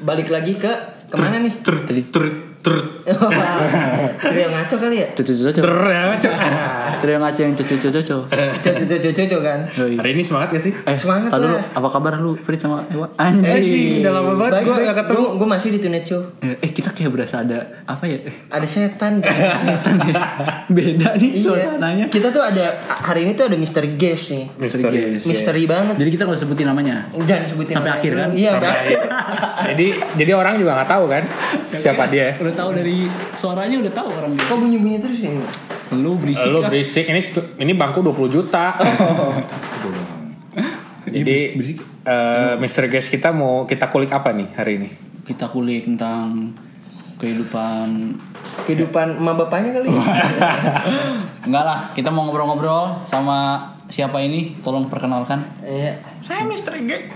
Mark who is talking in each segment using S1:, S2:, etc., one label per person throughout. S1: Balik lagi ke kemana nih?
S2: Ter
S1: Tadi.
S2: ter ter
S1: Trio ngaco kali ya?
S3: Cucu cucu
S2: ter
S3: cucu.
S2: ya, Cok.
S3: Sudah ngaco yang cucu cucu cucu.
S1: Cucu cucu cucu kan?
S3: Yoi.
S2: Hari ini semangat gak sih?
S3: Eh,
S1: Semangat
S3: tar dulu,
S1: lah. Eh,
S3: apa kabar lu, Frit sama Dewa? Anjing.
S2: udah lama banget gua gak ketemu.
S1: Gue masih di Tunet Show.
S3: Eh, eh, kita kayak berasa ada apa ya? Eh, ya.
S1: Ada setan kan?
S3: Beda nih Iya. suasananya.
S1: iya. Kita tuh ada hari ini tuh ada Mister Guest nih.
S3: iya.
S2: Misteri.
S1: Misteri banget.
S3: Jadi kita nggak usah sebutin namanya.
S1: Jangan sebutin
S3: Sampai
S1: namanya
S3: akhir,
S1: dulu.
S3: kan?
S1: Iya,
S2: Sampai
S1: Pak.
S2: akhir. jadi jadi orang juga nggak tahu kan siapa dia.
S3: Udah tahu dari suaranya udah tahu orang dia.
S1: Kok bunyi-bunyi terus ya? ini?
S3: Lu berisik
S2: Lu
S3: ah.
S2: berisik Iya, ini ini bangku 20 juta. Jadi eh, Mr. Guest kita mau kita kulik apa nih hari ini?
S3: Kita kulik tentang kehidupan
S1: Kehidupan emak bapaknya kali. ya?
S3: Enggak lah, kita mau ngobrol-ngobrol sama siapa ini? Tolong perkenalkan.
S1: Iya.
S2: Saya Mr. Guest.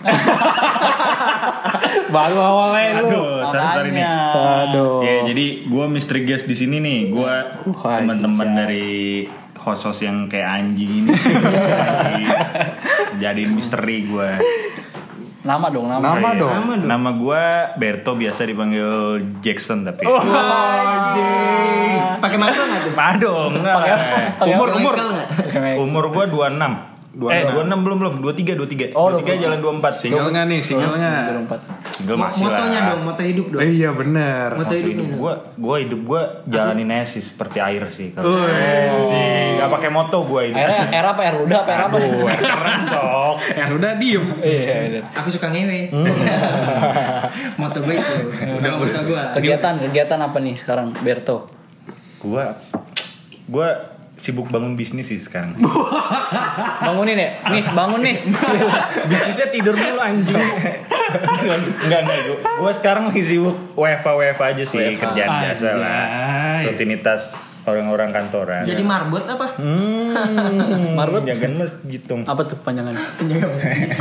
S2: Baru awalnya lu.
S4: Aduh, sari-sari Oh, nih.
S3: Aduh.
S4: Ya, jadi gue misteri guest di sini nih. Gue
S2: Uh,
S4: teman-teman
S2: iya.
S4: dari host-host yang kayak anjing ini. Jadiin misteri gue.
S3: Nama dong, nama.
S2: Nama dong.
S4: Nama gue Berto biasa dipanggil Jackson tapi.
S2: Oh.
S1: Pakai mantel enggak tuh?
S4: Aduh, enggak.
S1: Umur umur.
S4: Umur gue 26. Eh, 26 belum belum, 23 23. 23 jalan 24
S2: Oh, Single nggak nih, single nggak?
S4: Single masih lah.
S1: Motonya dong, moto hidup dong.
S2: Iya bener.
S1: Moto hidup nih.
S4: gue gue hidup gue jalanin aja sih seperti air sih kalau Sih, nggak pakai moto gue hidup
S3: Era era apa era udah apa era apa?
S4: keren cok
S2: Eh udah diem.
S1: Aku suka ngewe. moto baik tuh. Udah moto gua.
S3: Kegiatan kegiatan apa nih sekarang, Berto?
S4: gue gue sibuk bangun bisnis sih sekarang
S3: Bangunin ya, Nis bangun Nis.
S2: Bisnisnya tidur dulu anjing.
S4: enggak enggak gue sekarang lagi sibuk WFA WFA aja sih kerjaan biasa lah
S2: Anjay.
S4: rutinitas orang-orang kantoran
S1: Jadi marbot apa?
S4: hmm,
S3: Marbot?
S4: jangan mas gitu
S3: apa tuh panjangannya?
S2: Nah,
S1: Penjaga masjid.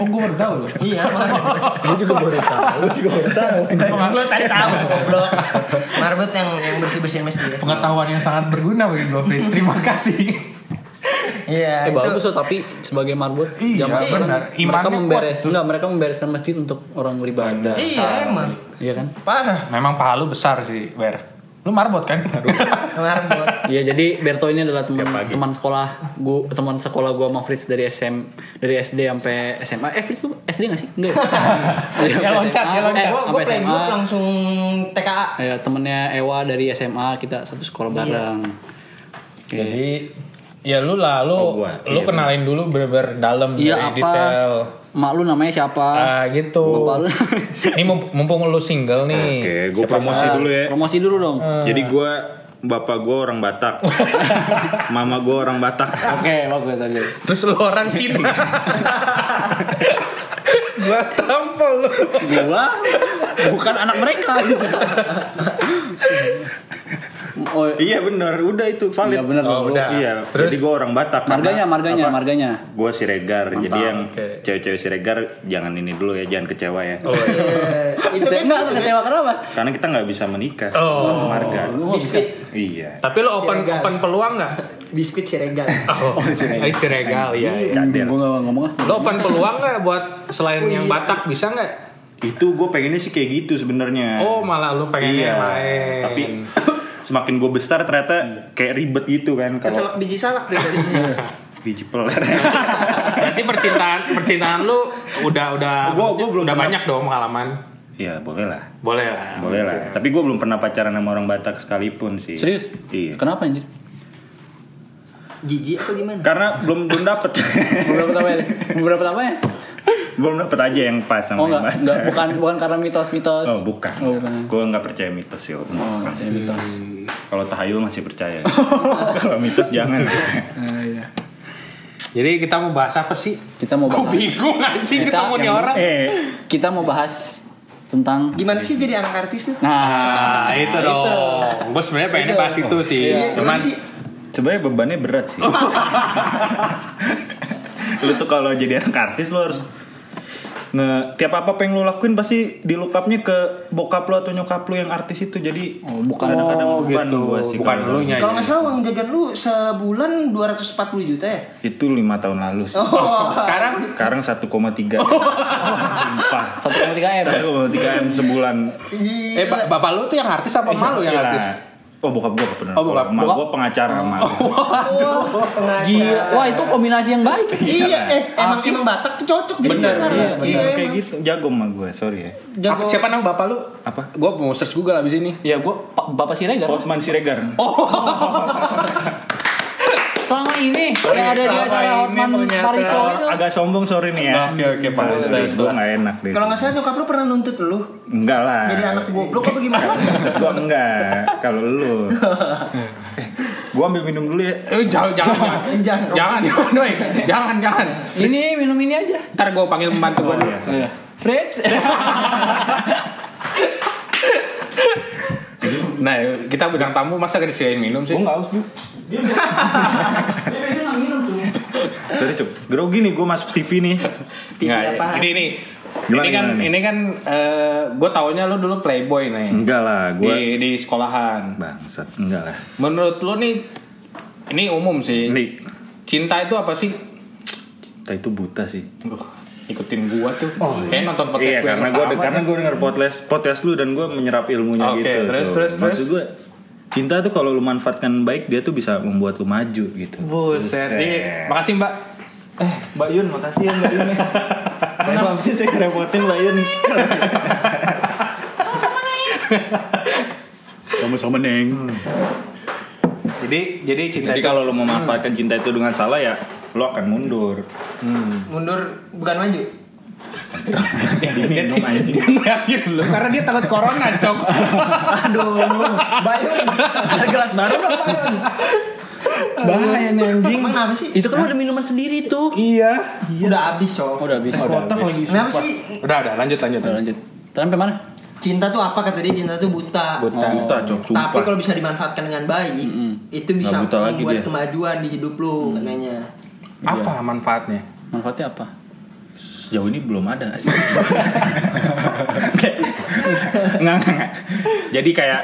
S2: Oh gue baru tahu.
S1: Iya, marbot.
S4: lu juga baru tahu lu juga baru tahu
S1: Lu tadi tahu goblok. Marbot yang yang bersih-bersihin masjid.
S2: Pengetahuan yang sangat berguna bagi gue, Fris. Terima kasih.
S1: Iya.
S3: Eh
S1: itu-
S3: bagus loh tapi sebagai marbot
S2: Iya,
S3: zaman sekarang
S2: benar.
S3: mereka
S2: Imannya
S3: memberes
S2: kuat.
S3: enggak mereka membereskan masjid untuk orang beribadah.
S1: Iya, emang.
S3: Iya kan?
S1: Parah.
S2: Memang paha lu besar sih, Wer. Lu marbot kan?
S1: Marbot.
S3: Iya jadi Berto ini adalah teman
S4: Tiap pagi.
S3: teman sekolah gua teman sekolah gua sama Fritz dari SM dari SD sampai SMA. Eh Fritz lu SD gak sih? Enggak. ya,
S2: Ya, loncat, ya, loncat.
S1: Gua gua
S3: Sampai
S1: play
S3: SMA.
S1: group langsung TKA.
S3: Ya temennya Ewa dari SMA kita satu sekolah bareng. Oke.
S2: Jadi ya lu lah lu
S4: Oh, gua.
S2: lu
S4: Iya,
S2: kenalin dulu bener-bener dalam
S3: Iya apa?
S2: dari detail.
S3: Mak lu namanya siapa?
S2: Ah gitu.
S3: Bapak lu.
S2: Ini mump- mumpung lu single nih.
S4: oke gue promosi
S3: Ah,
S4: dulu ya
S3: Promosi dulu dong.
S4: jadi gue bapak gue orang Batak mama gue orang Batak
S3: Oke, bagus aja.
S2: Terus lu orang Cina. Gua tampol lu.
S3: Gua bukan anak mereka. oh,
S4: Iya benar, udah itu valid.
S3: Iya, benar,
S2: Oh, Bang. udah.
S4: Iya,
S2: Terus?
S4: jadi gue orang Batak.
S3: marganya, marganya, marganya.
S4: Gue Siregar, jadi yang
S2: oke. Oh,
S4: cewek-cewek Siregar jangan ini dulu ya, jangan kecewa ya.
S2: iya.
S1: Eh, itu
S3: Kecewa,
S1: kan
S3: enggak kecewa kenapa?
S4: Karena kita nggak bisa menikah
S2: Oh.
S4: sama marga.
S1: biskuit
S4: Iya.
S2: Tapi lu open
S1: Siregar.
S2: open peluang nggak?
S1: biskuit siregar
S2: Oh, eh, siregal ya.
S4: Cadel.
S3: Gue gak ngomong ah.
S2: Lu open peluang nggak buat selain yang Batak bisa nggak?
S4: Itu gue pengennya sih kayak gitu sebenarnya.
S2: Oh malah lu pengennya
S4: iya.
S2: yang lain.
S4: Tapi semakin gue besar ternyata kayak ribet gitu kan kalau
S1: keselak biji salak tuh tadinya
S4: biji peler.
S2: berarti percintaan percintaan lu udah udah
S4: Gua- gua belum
S2: udah
S4: pernah-
S2: banyak dong pengalaman.
S4: ya boleh lah.
S2: Boleh lah.
S4: Boleh lah. Tapi gue belum pernah pacaran sama orang Batak sekalipun sih.
S3: Serius?
S4: Iya.
S3: Kenapa anjir?
S1: jijik apa gimana
S4: Karena belum belum dapet.
S3: Beberapa pertama ya? Beberapa pertama ya?
S4: belum dapet aja yang pas sama
S3: Oh
S4: yang
S3: enggak,
S4: Batak.
S3: enggak bukan bukan karena mitos-mitos.
S4: Oh bukan.
S3: Oh, bukan.
S4: Gue nggak percaya mitos ya. Allah.
S3: Oh, karena mitos.
S4: Kalau tahayul masih percaya. Kalau mitos jangan.
S3: Ah, iya.
S2: Jadi kita mau bahas apa sih?
S3: Kita mau
S2: Gue
S3: bahas,
S2: bingung
S3: Kita
S2: anjing ketemu nih
S3: yang-
S2: orang.
S4: eh,
S3: kita mau bahas tentang
S1: gimana sih jadi anak artis tuh
S3: Eh,
S2: Nah, itu dong. Gue sebenarnya pengennya bahas itu sih.
S1: Iya,
S2: Cuman
S1: gimana sih?
S4: sebenarnya bebannya berat sih. lu tuh kalau jadi anak artis lu harus nge tiap apa apa yang lu lakuin pasti di look up-nya ke bokap lu atau nyokap lu yang artis itu jadi
S3: Oh, bukan.
S4: kadang-kadang
S2: Oh,
S4: beban
S2: gitu.
S4: gua sih
S2: Bukan ya.
S4: kalau-
S2: lu nya.
S1: Kalau nggak salah uang jajan lu sebulan 240 juta ya?
S4: itu lima tahun lalu sih.
S1: Oh,
S2: Sekarang
S4: sekarang 1,3 sumpah
S3: 1,3 M.
S4: 1,3 m sebulan
S2: eh ba- bapak lu tuh yang artis apa malu yang
S4: Gila.
S2: artis?
S4: Iya. oh bokap gua kebenaran
S2: Oh, bokap-
S4: Emak
S2: bokap-
S4: gua pengacara emak gua.
S1: pengacara.
S3: Gila. Wah itu kombinasi yang baik.
S1: Iya, eh emang
S2: Artis.
S1: emang Batak tuh cocok jadi ya,
S4: bener
S1: pengacara.
S4: iya, iya,
S1: emang.
S4: kayak gitu jago emak gua sorry ya
S1: Jago.
S2: Apa, siapa nama bapak lu?
S4: Apa?
S2: Gua mau search Google abis ini.
S3: Ya gue Bapak Siregar.
S4: Hotman Siregar
S3: Selama ini yang ada di
S2: selama
S3: acara
S2: ini
S3: Hotman
S2: ternyata
S3: Pariso
S4: Ah,
S3: itu.
S4: agak sombong sorry nih ya
S2: Oke, oke, Pak.
S4: Sorry,
S2: Baik,
S4: gua
S2: Pak.
S4: nggak enak deh
S1: Kalau nggak salah nyokap lu pernah nuntut lu
S4: enggak lah
S1: jadi anak goblok apa gimana?
S4: gua enggak kalau lu Eh, gua ambil minum dulu ya
S2: Eh, jangan, jangan,
S1: Jangan.
S2: jangan, jangan, jangan, doi. jangan, jangan.
S3: Ini minum ini aja. eh,
S2: Ntar gue panggil pembantu gue
S4: Oh,
S2: dulu.
S4: iya, sorry.
S3: Fritz.
S2: Nah, kita bidang tamu masa gak disediain minum sih?
S4: Gue gak haus bu Sorry cuk Grogi nih gue masuk TV nih
S2: Nggak, ya.
S1: apa?
S2: Ini, ini,
S4: Gimana,
S2: ini kan,
S4: gimana nih?
S2: ini kan, gue taunya lu dulu playboy nih
S4: Enggak lah
S2: di
S4: gue
S2: di sekolahan.
S4: Bangsat Enggak lah
S2: Menurut lu nih, ini umum sih.
S4: Nih
S2: Cinta itu apa sih?
S4: Kita itu buta sih
S2: Duh, ikutin gua tuh. Kayak nonton podcast
S4: Iya
S2: gue
S4: karena gue karena gue denger podcast podcast lu dan gue menyerap ilmunya
S2: Oke,
S4: gitu
S2: terus,
S4: tuh.
S2: terus, terus.
S4: Maksud gue Cinta tuh kalau lu manfaatkan baik dia tuh bisa membuat lu maju gitu.
S2: Buset. Ini, makasih Mbak.
S4: Eh, iya. Mbak Yun, makasih ya Mbak Yun. Kenapa sih saya kerepotin Mbak Yun? Sama-sama neng.
S2: Jadi jadi cinta
S4: Hmm. Jadi
S2: itu
S4: kalau lo memanfaatkan cinta itu dengan salah ya, lo akan mundur.
S1: Mundur bukan maju.
S2: dia,
S4: Diminum anjing.
S2: dia ngeliatin lu karena dia takut corona, Cok.
S4: Aduh, Bayun, ada gelas baru dong Bayun. Bahaya nih anjing.
S1: Emang apa sih?
S3: itu kan ada minuman sendiri tuh.
S2: Iya.
S1: Udah habis, Cok.
S3: Udah habis.
S4: Kotak lagi.
S1: Kenapa sih?
S2: Udah, udah, lanjut, lanjut.
S3: Udah lanjut. kan Tadi sampai mana?
S1: Cinta tuh apa kata dia? Cinta tuh buta.
S2: Buta.
S4: Buta cok, sumpah.
S1: Tapi kalau bisa dimanfaatkan dengan baik, itu bisa
S4: Nggak buta lagi
S1: membuat
S4: dia. Mm.
S1: kemajuan di hidup lu katanya.
S2: Apa manfaatnya?
S3: Manfaatnya apa?
S4: sejauh ini belum ada. Kayak- Nggak, nggak, nggak. Jadi kayak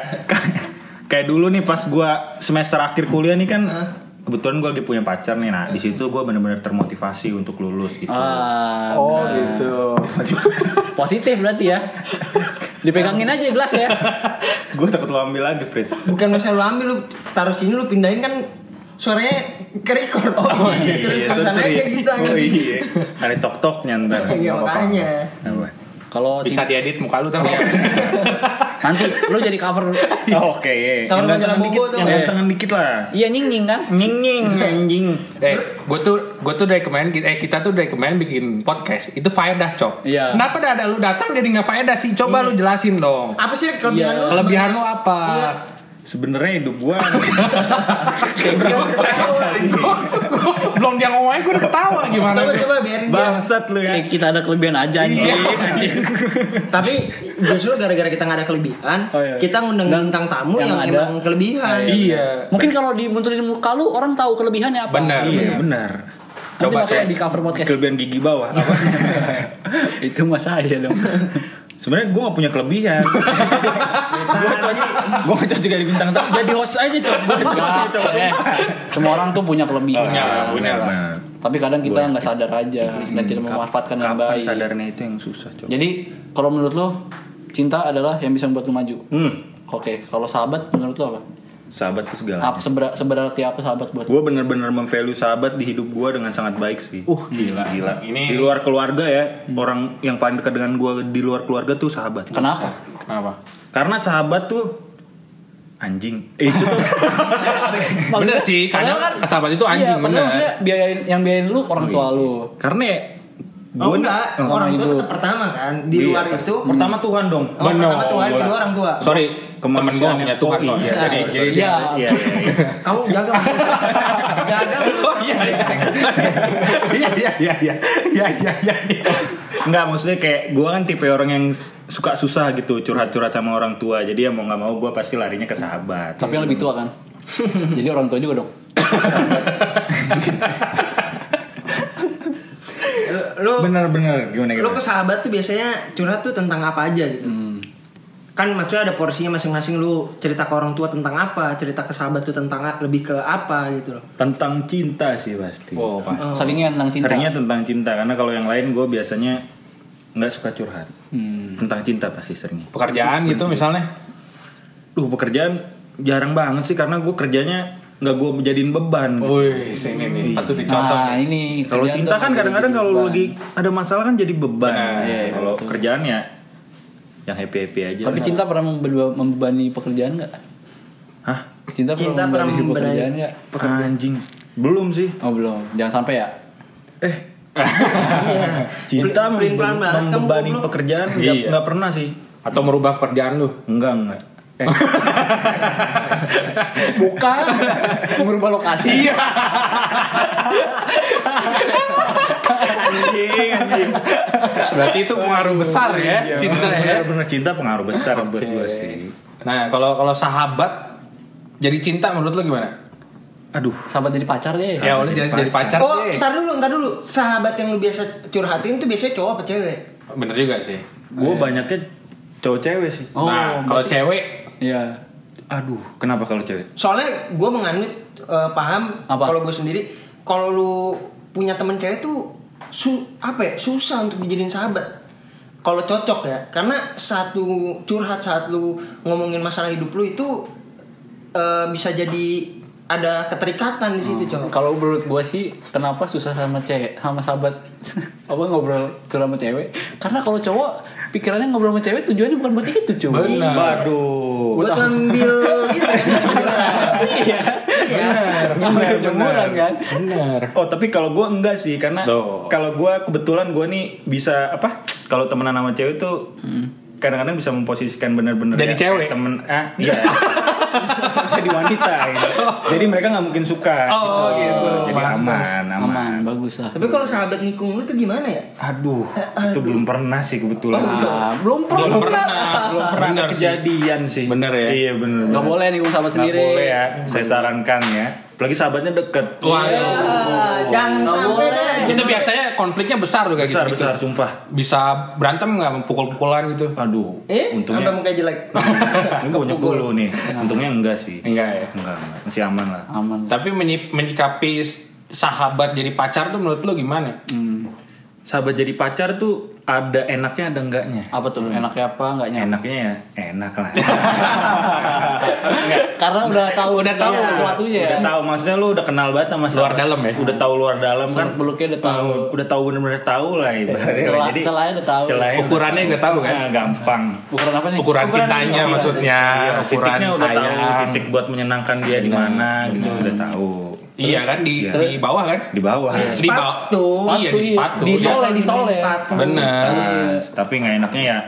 S4: kayak dulu nih pas gua semester akhir kuliah nih kan kebetulan gua lagi punya pacar nih. Nah, di situ gua bener-bener termotivasi untuk lulus gitu.
S3: Ah, benar.
S2: gitu.
S3: Positif berarti ya. Dipegangin aja gelas ya.
S4: Gua takut lo ambil lagi, Fritz.
S1: Bukan masa lu ambil lu taruh sini lu pindahin kan suaranya ke record. Oh, Terus
S4: Iya,
S1: terusan
S4: sorry.
S1: aja gitu anjing.
S4: Oh, iya. Ada tok-toknya ntar.
S1: Iya,
S4: Nggak apa-apa.
S1: makanya.
S4: Nggak apa-apa.
S3: Kalau
S2: Bisa
S3: cinta-
S2: diedit muka lu tapi.
S3: nanti lu jadi cover
S4: Oh, Oke, iya.
S1: Kalau majalah
S4: Yang gantengan
S1: Bobo
S4: dikit,
S1: tuh.
S4: yang gantengan dikit lah.
S3: Iya nying-nying kan?
S4: Nying-nying, anjing.
S2: eh, gue tuh gue tuh dari kemarin eh kita tuh dari kemarin bikin podcast itu faedah cok.
S3: Iya.
S2: Kenapa dah ada lu datang jadi nggak faedah sih? Coba lu jelasin dong.
S1: Apa sih kelebihan
S3: Iya.
S1: lu?
S2: Kelebihan lu apa?
S1: Iya.
S4: Sebenarnya hidup gua
S2: Gua- gua belum dia ngomong aja gue udah ketawa gimana?
S1: Coba coba biarin dia.
S4: bangsat lu ya.
S3: Eh, kita ada kelebihan aja
S4: Iya.
S3: anjing.
S1: Tapi justru gara-gara kita nggak ada kelebihan,
S3: Oh, iya.
S1: kita ngundang
S3: Dan
S1: bintang tamu yang,
S3: yang ada-
S1: emang kelebihan.
S2: Iya.
S3: Mungkin kalau dimunculin muka lu orang tahu kelebihannya apa.
S2: Benar.
S4: Iya, benar.
S3: Coba
S2: Coba
S3: makanya
S2: cek.
S3: di cover podcast. Iya.
S4: Kelebihan gigi bawah.
S3: Itu mas saya dong.
S4: Sebenarnya gue gak punya kelebihan. gue cocok, gue cocok jadi bintang tamu. Jadi host aja coba.
S3: Nah, eh, semua orang tuh punya kelebihan.
S2: Punya lah, punya lah.
S3: Tapi kadang kita nggak sadar aja dan tidak memanfaatkan dengan
S4: Mm-hmm. Kapan
S3: baik.
S4: sadarnya itu yang susah coba.
S3: Jadi kalau menurut lo cinta adalah yang bisa membuat lo maju.
S4: Hmm,
S3: Oke, kalau sahabat menurut lo apa?
S4: sahabat tuh
S3: Apa
S4: segala.
S3: sebera- seberarti apa sahabat buat? lo?
S4: Gue bener-bener memvalue sahabat di hidup gue dengan sangat baik sih. Uh, gila. gila.
S2: Ini-
S4: Di luar keluarga ya, orang yang paling dekat dengan gue di luar keluarga tuh sahabat.
S3: Kenapa?
S2: Kenapa?
S4: Karena sahabat tuh anjing. Eh, itu tuh
S2: Bener sih, kadang
S3: Padahal
S2: sahabat itu anjing,
S3: kan Iya, padahal
S2: bener.
S3: maksudnya biayain yang biayain lu orang tua lu.
S4: karena ya
S1: Oh
S4: gua-
S1: enggak, orang itu tetap pertama kan di
S4: Iya,
S1: luar
S4: per-
S1: itu.
S4: Pertama Tuhan dong.
S1: Oh, pertama
S2: Bener.
S1: Tuhan, kedua orang tua.
S2: Sorry, temen gue
S4: Kemanusiaan yang-
S2: punya Tuhan.
S4: Oh,
S2: loh.
S4: iya,
S2: Jadi,
S4: sorry,
S2: jadi
S4: sorry.
S2: dia-
S3: Iya.
S4: Iya, iya, iya.
S1: Kamu jaga jaga lu.
S2: Iya, iya, iya, iya, iya, iya, iya, iya.
S4: Enggak maksudnya kayak gue kan tipe orang yang suka susah gitu curhat-curhat sama orang tua jadi ya mau nggak mau gue pasti larinya ke sahabat.
S3: Tapi yang lebih tua kan. Jadi orang tua juga dong.
S1: lu
S4: Bener-bener gimana
S1: lu
S4: gimana?
S1: ke sahabat tuh biasanya curhat tuh tentang apa aja gitu kan maksudnya ada porsinya masing-masing lu cerita ke orang tua tentang apa cerita ke sahabat tuh tentang a- lebih ke apa gitu loh
S4: Tentang cinta sih pasti.
S2: Oh, pas.
S3: Seringnya tentang cinta.
S4: Seringnya tentang cinta karena kalau yang lain gue biasanya nggak suka curhat.
S3: Hmm.
S4: Tentang cinta pasti seringnya.
S2: Pekerjaan gitu misalnya.
S4: Duh pekerjaan jarang banget sih karena gue kerjanya nggak gue jadiin beban.
S2: Wih, sini nih. Patut dicontoh.
S3: Nah,
S2: nih.
S3: ini
S4: Kalau
S3: kerjaan tuh
S4: cinta kan
S3: jadi
S4: kadang-kadang kalau
S3: beban.
S4: lagi ada masalah kan jadi beban.
S2: Nah,
S4: gitu.
S3: iya, iya,
S4: kalau kerjaan ya yang happy happy aja.
S3: Tapi
S2: Iya.
S3: cinta pernah membe- membebani pekerjaan nggak?
S4: Hah?
S3: Cinta,
S1: Cinta
S3: pernah
S1: pernah
S3: membebani
S1: membebani-
S3: pekerjaan nggak?
S4: Anjing. Belum sih.
S3: Oh belum, jangan sampai ya.
S4: Eh.
S1: Iya.
S4: Cinta
S1: Pelin- pelin-pelan
S4: membe-
S1: banget, kamu
S4: membebani
S1: goblok.
S4: pekerjaan nggak
S2: Iya.
S4: nggak pernah sih.
S2: Atau merubah pekerjaan lu.
S4: Enggak enggak. Eh,
S3: Bukan, merubah
S1: Iya.
S3: lokasi.
S4: anjing, anjing. Iya,
S2: Berarti itu pengaruh besar ya cinta ya.
S4: Bener-bener cinta pengaruh besar buat
S2: Oke.
S4: gue sih.
S2: Nah, kalau kalau sahabat jadi cinta menurut lu gimana?
S4: Aduh.
S3: Sahabat jadi pacar deh.
S2: Ya, udah jadi, jadi pacar.
S1: oh
S2: deh.
S1: ntar dulu ntar dulu sahabat yang lu biasa curhatin tuh biasanya cowok apa cewek
S2: Bener juga sih.
S4: Gue banyaknya cowok cewek sih.
S3: Oh,
S2: nah, kalau cewek
S3: Iya.
S4: Aduh, kenapa kalau cewek?
S1: soalnya gue menganut eh, paham
S3: Apa?
S1: kalau gue sendiri kalau lu punya temen cewek tuh su apa ya susah untuk dijadiin sahabat kalau cocok ya karena satu curhat saat lu ngomongin masalah hidup lu itu eh, bisa jadi ada keterikatan di situ cowok
S3: Kalau menurut gue sih, kenapa susah sama cewek, sama sahabat, apa ngobrol curhat sama cewek? Karena kalau cowok, pikirannya ngobrol sama cewek tujuannya bukan buat itu cuy.
S2: Benar.
S4: Waduh.
S1: buat ngambil gitu
S3: Oh. Iya.
S1: Iya.
S3: Bener, jemuran kan.
S2: bener.
S4: Oh, tapi kalau gue enggak sih karena
S2: Tuh.
S4: kalau gue kebetulan gue nih bisa apa? Kalau temenan sama cewek tuh kadang-kadang bisa memposisikan benar-benar
S2: Jadi cewek?
S4: temen ah iya jadi wanita gitu. jadi mereka nggak mungkin suka
S2: Oh, gitu.
S4: jadi aman
S2: Pantes.
S4: aman,
S3: Aman, bagus lah.
S1: tapi kalau sahabat nikung lu tuh gimana ya
S4: aduh itu belum pernah sih kebetulan
S3: Ah, belum pernah.
S2: Belum pernah.
S4: belum pernah ada
S2: Bener sih.
S4: kejadian sih
S2: Bener ya?
S4: iya bener
S3: Gak
S4: bener.
S3: boleh nih sama sahabat
S4: Nggak
S3: sendiri.
S4: boleh ya saya sarankan ya apalagi sahabatnya deket
S2: Waduh.
S1: Ah, jangan sampai deh
S2: Itu biasanya konfliknya besar tuh kayak
S4: besar
S2: gitu.
S4: besar sumpah
S2: Bisa berantem nggak mempukul-pukulan gitu?
S4: aduh
S1: eh sampai
S4: untungnya
S1: muka jelek
S4: enggak punya bulu nih untungnya enggak sih
S2: Enggak ya.
S4: enggak enggak. masih aman lah
S3: Aman.
S2: Tapi menyik- menyikapi s- sahabat jadi pacar tuh menurut lu gimana?
S3: Hmm.
S4: sahabat jadi pacar tuh ada enaknya ada enggaknya
S3: Apa tuh enaknya apa enggaknya?
S4: enaknya ya enak lah
S3: Karena udah tahu
S2: Udah tahu
S3: iya, sesuatunya ya.
S4: udah tahu maksudnya lu udah kenal banget
S2: Luar
S4: sama sahabat.
S2: dalam ya?
S4: udah tahu luar dalam kan
S3: Seluk beluknya udah tahu.
S4: udah tahu bener-bener tahu lah ibaratnya
S3: celah- celahnya udah tahu.
S4: celahnya udah
S2: Ukurannya udah tahu kan?
S4: Ah, gampang
S3: Ukuran apa nih?
S2: Ukuran, cintanya
S1: iya.
S2: maksudnya,
S4: Iya,
S2: Nah, ukuran
S4: titiknya udah
S2: sayang.
S4: tahu titik buat menyenangkan dia di mana gitu udah tahu
S2: iya kan di di bawah kan?
S4: di bawah
S2: Di bawah.
S1: Sepatu.
S2: Iya di sepatu.
S3: Di
S2: Iya.
S3: soleh, di soleh.
S1: Sepatu.
S2: Bener.
S4: Nah, tapi nggak enaknya ya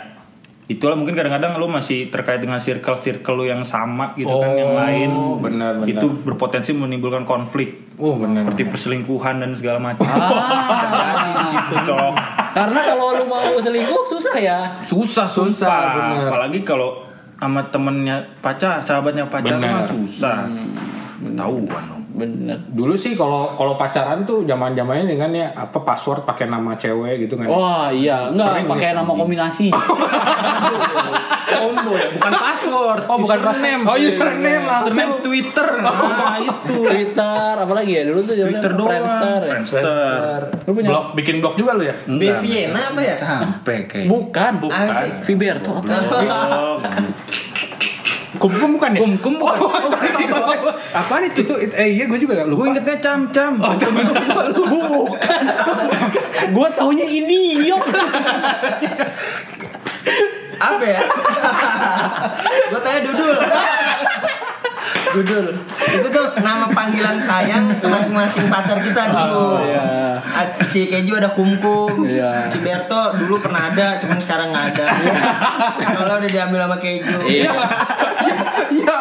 S4: itulah mungkin kadang-kadang lu masih terkait dengan circle-circle lu yang sama gitu kan yang lain
S2: benar, benar.
S4: itu berpotensi menimbulkan konflik
S2: Oh benar.
S4: seperti perselingkuhan dan segala macam
S3: Ah.
S4: Terjadi di situ cok
S3: Karena kalau lu mau selingkuh susah ya.
S2: Susah susah.
S4: Wah,
S2: Bener.
S4: apalagi kalau sama temennya pacar sahabatnya pacar
S2: Benar.
S4: mah susah ketahuan dong
S3: Bener.
S2: Dulu sih kalau kalau pacaran tuh zaman zamannya dengan ya apa password pakai nama cewek gitu kan?
S3: Wah iya, enggak
S2: Sering
S3: pakai
S2: gitu.
S3: nama kombinasi.
S4: combo ya bukan password
S2: Oh, bukan
S4: username
S2: password. Oh,
S3: Iya,
S2: username langsung.
S4: username Twitter nah itu
S3: Twitter, apa lagi ya dulu tuh zamannya
S4: Twitter doang
S3: Friendster ya.
S4: Friendster.
S3: Lu punya
S2: Blog bikin blog juga lu ya?
S4: Enggak,
S1: Beviena apa ya
S4: sampai kayak
S3: bukan, bukan.
S1: Ah, sih.
S3: Viberto apa? Iya.
S4: Goblok.
S2: Kumkum bukan ya? Kumkum bukan.
S4: Oh, Apaan itu tuh?
S2: eh iya gue juga
S4: Gue ingetnya cam-cam. Oh, cam-cam.
S3: bukan. Gua taunya idiot.
S1: apa ya? Gue tanya Dudul. Dudul. Itu tuh nama panggilan sayang ke masing-masing pacar kita dulu.
S3: iya.
S1: Ad- Si Keju ada kumkum,
S3: Iya.
S1: si Berto dulu pernah ada, cuman sekarang nggak ada. Soalnya udah diambil sama Keju.
S3: Iya.
S4: Iya.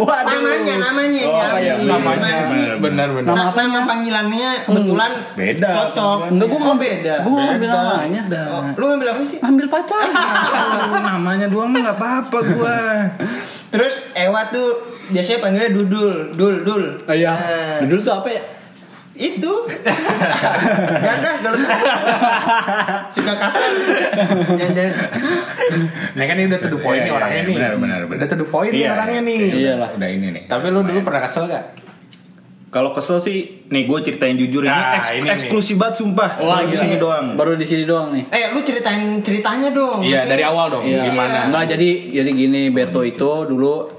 S4: Waduh.
S1: Namanya, namanya yang
S4: Oh, iya,
S1: diambil.
S4: namanya.
S1: Gimana sih?
S2: Benar benar.
S1: Nah, nama panggilannya kebetulan
S4: Beda.
S1: cocok.
S3: Hmm, Enggak gua
S1: Oh,
S3: ngambil
S1: beda.
S3: Gua ngambil namanya.
S1: Oh, lu ngambil apa sih?
S3: Ambil pacar.
S4: Aduh, namanya doang mah nggak apa-apa gua.
S1: Terus Ewa tuh biasanya panggilnya Dudul, Dul, Dul.
S3: Ah, Iya.
S1: Nah,
S3: Dulu tuh apa ya?
S1: itu ganda kalau gitu. suka kasar yang dari
S2: Nah kan ini udah to the point nih
S4: Iya, iya,
S2: orangnya
S4: iya,
S2: nih.
S4: Benar benar benar.
S2: Udah to the point nih
S4: Iya,
S2: orangnya
S4: iya,
S2: nih.
S4: iya,
S3: Iya lah.
S4: Udah ini nih. Nah,
S2: Tapi lu dulu pernah kesel gak?
S4: Kalau kesel sih, nih gue ceritain jujur ini,
S2: Nah,
S4: eks-
S2: ini nih.
S4: eksklusif banget sumpah. iya. Baru di
S3: gila.
S4: sini doang.
S3: Baru di sini doang nih.
S1: eh lu ceritain ceritanya dong
S2: Iya dari awal
S4: Oh,
S2: dong.
S3: Iya.
S2: Gimana?
S3: Enggak jadi jadi gini Berto itu dulu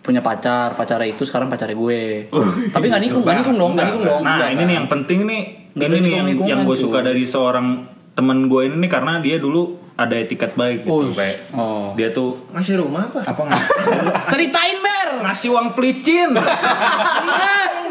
S3: punya pacar, pacarnya itu sekarang pacarnya gue.
S4: Oh,
S3: Tapi nggak nikung, nggak nikung dong, nggak nikung dong.
S4: iya, Nah,
S3: Enggak,
S4: ini
S3: kan?
S4: nih yang penting nih.
S3: Nggak
S4: ini
S3: ada
S4: nih yang yang
S3: lingkungan,
S4: gue suka
S3: cuy.
S4: dari seorang temen gue ini nih, karena dia dulu ada etiket baik gitu,
S3: Ush.
S4: kayak
S3: Oh.
S4: dia tuh
S1: masih rumah apa
S4: apa ngasih,
S3: Ceritain Ber.
S4: ngasih uang pelicin.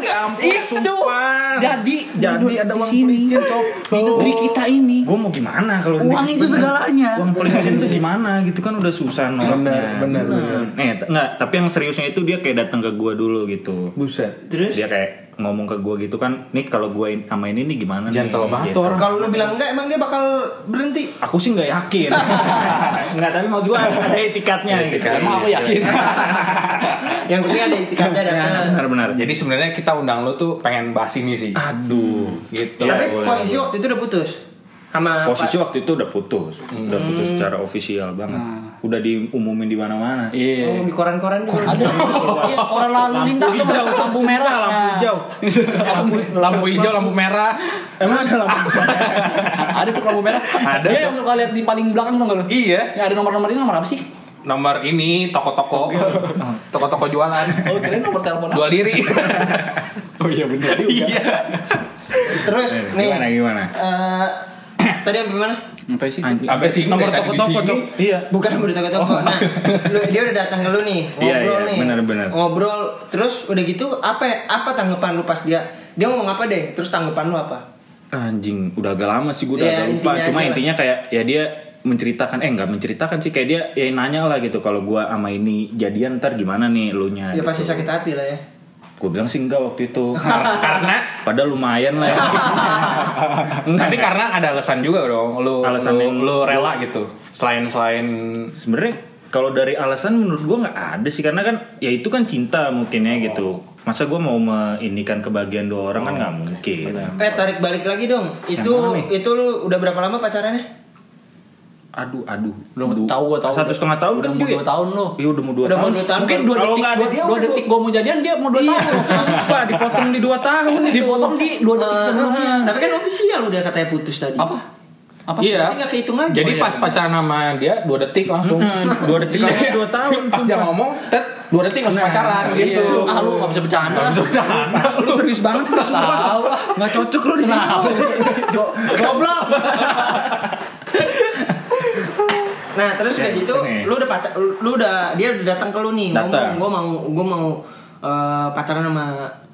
S1: Ah,
S3: Ya ampun, itu.
S4: sumpah.
S3: Jadi
S4: Jadi
S3: di
S4: ada uang
S3: sini
S4: pelicin cok.
S3: di negeri kita ini.
S4: Gue mau gimana kalau di
S3: Uang
S4: negeri
S3: itu
S4: bener?
S3: segalanya.
S4: Uang pelicin tuh gimana gitu kan udah susah noloknya.
S2: bener,
S4: Nih, t- nggak, tapi yang seriusnya itu dia kayak datang ke gue dulu gitu.
S2: Buset.
S1: terus
S4: Dia kayak ngomong ke gue gitu kan, nih kalau gue in- sama ini nih gimana
S2: Gentle
S4: nih?
S2: banget
S4: Gitu.
S2: tuh orang.
S1: kalau lu bilang enggak emang dia bakal berhenti
S4: Aku sih nggak yakin. nggak tapi maksud gue ada
S2: Ada
S4: etikatnya. gitu.
S2: etikatnya.
S3: Emang aku yakin.
S1: yang penting ada tiketnya
S3: Iya.
S4: Ya,
S1: datang
S4: Benar-benar.
S2: Jadi sebenarnya kita undang lu tuh pengen bahas ini sih.
S4: aduh, gitu.
S1: tapi
S4: Boleh,
S1: posisi
S4: boleh.
S1: waktu itu udah putus sama
S4: posisi waktu itu udah putus, udah putus secara ofisial banget. Udah diumumin di mana-mana.
S1: Oh,
S3: Iya.
S1: di koran-koran juga.
S3: Ada iya, orang lalu lintas tuh lampu, merah.
S4: Lampu
S3: Nah.
S4: hijau.
S2: Lampu, lampu hijau, lampu merah.
S4: Emang ada lampu
S3: ada tuh lampu merah.
S2: Ada
S3: Dia
S2: tuh.
S3: yang suka lihat di paling belakang tuh lu.
S2: Iya.
S3: Ya ada nomor-nomor ini nomor apa sih?
S2: Nomor ini toko-toko, toko-toko jualan,
S3: Oh, kirain nomor telepon.
S2: dua liri.
S4: Oh iya benar
S2: Iya.
S1: Terus nih.
S4: Gimana gimana?
S1: eh, tadi yang mana?
S3: Apa sih?
S4: Anjing.
S2: Sampai sini
S4: Nomor
S2: dari tadi di
S4: toko-toko,
S2: sini.
S4: Cok. Iya. Oh.
S1: Bukan udah toko toko. Nah, lu- dia udah datang ke lu nih,
S4: Iya,
S1: ngobrol
S4: iya,
S1: nih.
S4: benar-benar.
S1: Ngobrol. Terus udah gitu apa apa tanggapan lu pas dia dia ngomong apa deh? Terus tanggapan lu apa?
S4: Anjing, udah agak lama sih gue udah
S1: Iya,
S4: agak lupa.
S1: intinya aja
S4: Cuma
S1: lah.
S4: intinya kayak ya dia menceritakan eh nggak menceritakan sih kayak dia ya nanya lah gitu kalau gua sama ini jadian ntar gimana nih lu nya
S1: Ya pasti sakit hati lah ya.
S4: gue bilang sih enggak waktu itu
S2: Karena
S4: padahal lumayan lah ya.
S2: tapi karena ada alasan juga dong lu
S4: Alasan
S2: lu,
S4: yang-
S2: lu rela gitu. Selain selain
S4: sebenarnya kalau dari alasan menurut gua nggak ada sih karena kan ya itu kan cinta mungkin ya gitu
S3: Oh.
S4: masa gua mau meinikan kebahagiaan dua orang kan nggak mungkin
S1: Eh tarik balik lagi dong. Itu
S4: mana
S1: itu lu udah berapa lama pacarannya?
S4: aduh aduh
S3: Udah mau tahu gua tahu.
S4: satu setengah tahun
S3: udah
S4: kan
S3: mau
S4: dia.
S3: dua tahun lu.
S4: Iya udah mau dua
S1: Udah mau
S4: tahun
S1: dua tahun.
S3: Mungkin dua
S4: Kalau
S3: detik,
S4: nggak ada
S3: dua,
S4: dia,
S3: dua
S4: udah- Iya.
S3: detik gua mau jadian dia mau dua tahun.
S4: Lupa dipotong di dua tahun itu.
S3: Dipotong di dua
S4: Iya.
S3: detik sebelumnya.
S1: Eh, Tapi kan ofisial udah katanya putus tadi.
S3: Apa? Apa?
S2: Iya.
S1: Berarti nggak kehitung lagi.
S2: Jadi
S1: Oh, iya,
S2: pas pacaran sama dia dua detik langsung.
S4: dua detik
S2: Iya.
S4: lagi dua tahun. Nah,
S2: Pas dia ngomong, tet dua detik langsung pacaran gitu.
S3: Ah lu nggak bisa bercanda.
S2: Nggak bisa bercanda.
S4: lu serius banget
S3: Terus tahu lah.
S4: nggak cocok lu di sini
S3: Kenapa sih?
S1: Goblok. nah terus udah
S4: Ya,
S1: gitu
S4: ini.
S1: lu udah pacar lu udah dia udah datang ke lu nih ngomong
S4: Datang.
S1: gue mau gue mau eh, pacaran sama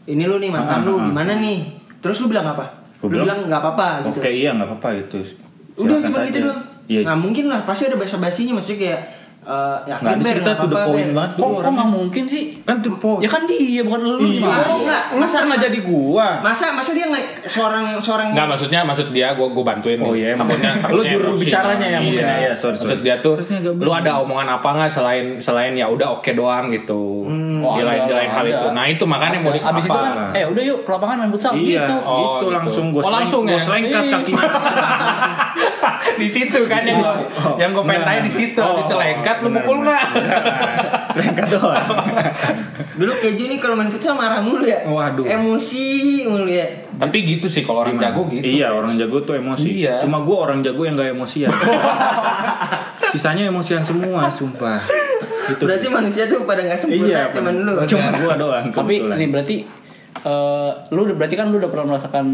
S1: ini lu nih mantan
S4: Ah,
S1: lu
S4: ah, ah.
S1: gimana nih terus lu bilang apa
S4: Gua
S1: lu
S4: bilang,
S1: bilang nggak apa-apa gitu
S4: oke iya nggak apa-apa gitu
S1: udah
S4: Silakan
S1: cuma
S4: saja.
S1: gitu doang
S4: Iya.
S1: nah mungkin lah pasti ada basa basinya maksudnya kayak eh, yakin
S4: nggak ada
S1: Ber,
S4: sih, kita
S1: nggak
S4: tuh the
S1: apa-apa,
S4: point
S1: Ber.
S4: banget
S3: Kok kok nggak mungkin sih?
S4: kan tuh point
S3: Ya kan dia bukan lu gimana?
S1: Iya.
S3: sih?
S1: nggak?
S4: lu
S1: Masa-
S4: pernah jadi gua
S1: Nah, masa masa dia nggak seorang seorang
S2: Enggak maksudnya maksud dia gua gua bantuin.
S4: Oh, iya, emang.
S2: takutnya,
S4: Lu
S2: takutnya
S4: juru
S2: emosi.
S4: bicaranya ya, mungkin ya.
S2: Iya,
S4: Iya, sorry,
S2: Maksud
S4: sorry.
S2: dia tuh
S4: Harusnya nggak
S2: lu ada omongan apa nggak selain selain ya udah oke doang gitu.
S4: Hmm.
S3: Oh,
S2: di lain
S3: ada,
S2: di lain hal
S3: ada.
S2: itu. Nah, itu makanya mau
S3: Ada.
S2: di-
S3: Abis itu
S2: apa?
S3: kan, eh udah yuk ke lapangan main futsal
S4: Iya,
S3: gitu.
S2: Oh,
S4: oh,
S2: gitu.
S4: gitu langsung gue
S2: Oh, langsung ya?
S4: gue selengkat
S3: Iya.
S4: kaki.
S2: di situ Nah. kan yang gua, yang gua pengen tanya di situ.
S4: Oh,
S2: Diselengkat lu
S4: benar,
S2: mukul
S4: benar.
S2: enggak?
S4: selengkat doang.
S1: dulu keju nih kalau main futsal marah mulu ya
S4: Waduh.
S1: emosi mulu ya
S2: Tapi gitu sih kalau orang jago gitu.
S4: Iya, orang jago tuh emosi.
S2: Iya.
S4: Cuma gue orang jago yang gak emosian. Sisanya emosian semua, sumpah. Gitu.
S1: Berarti manusia tuh pada nggak sempurna,
S4: iya,
S1: cuman lu.
S4: Cuma gue doang.
S3: Tapi
S4: kebetulan.
S3: ini berarti eh, lu udah berarti kan lu udah pernah merasakan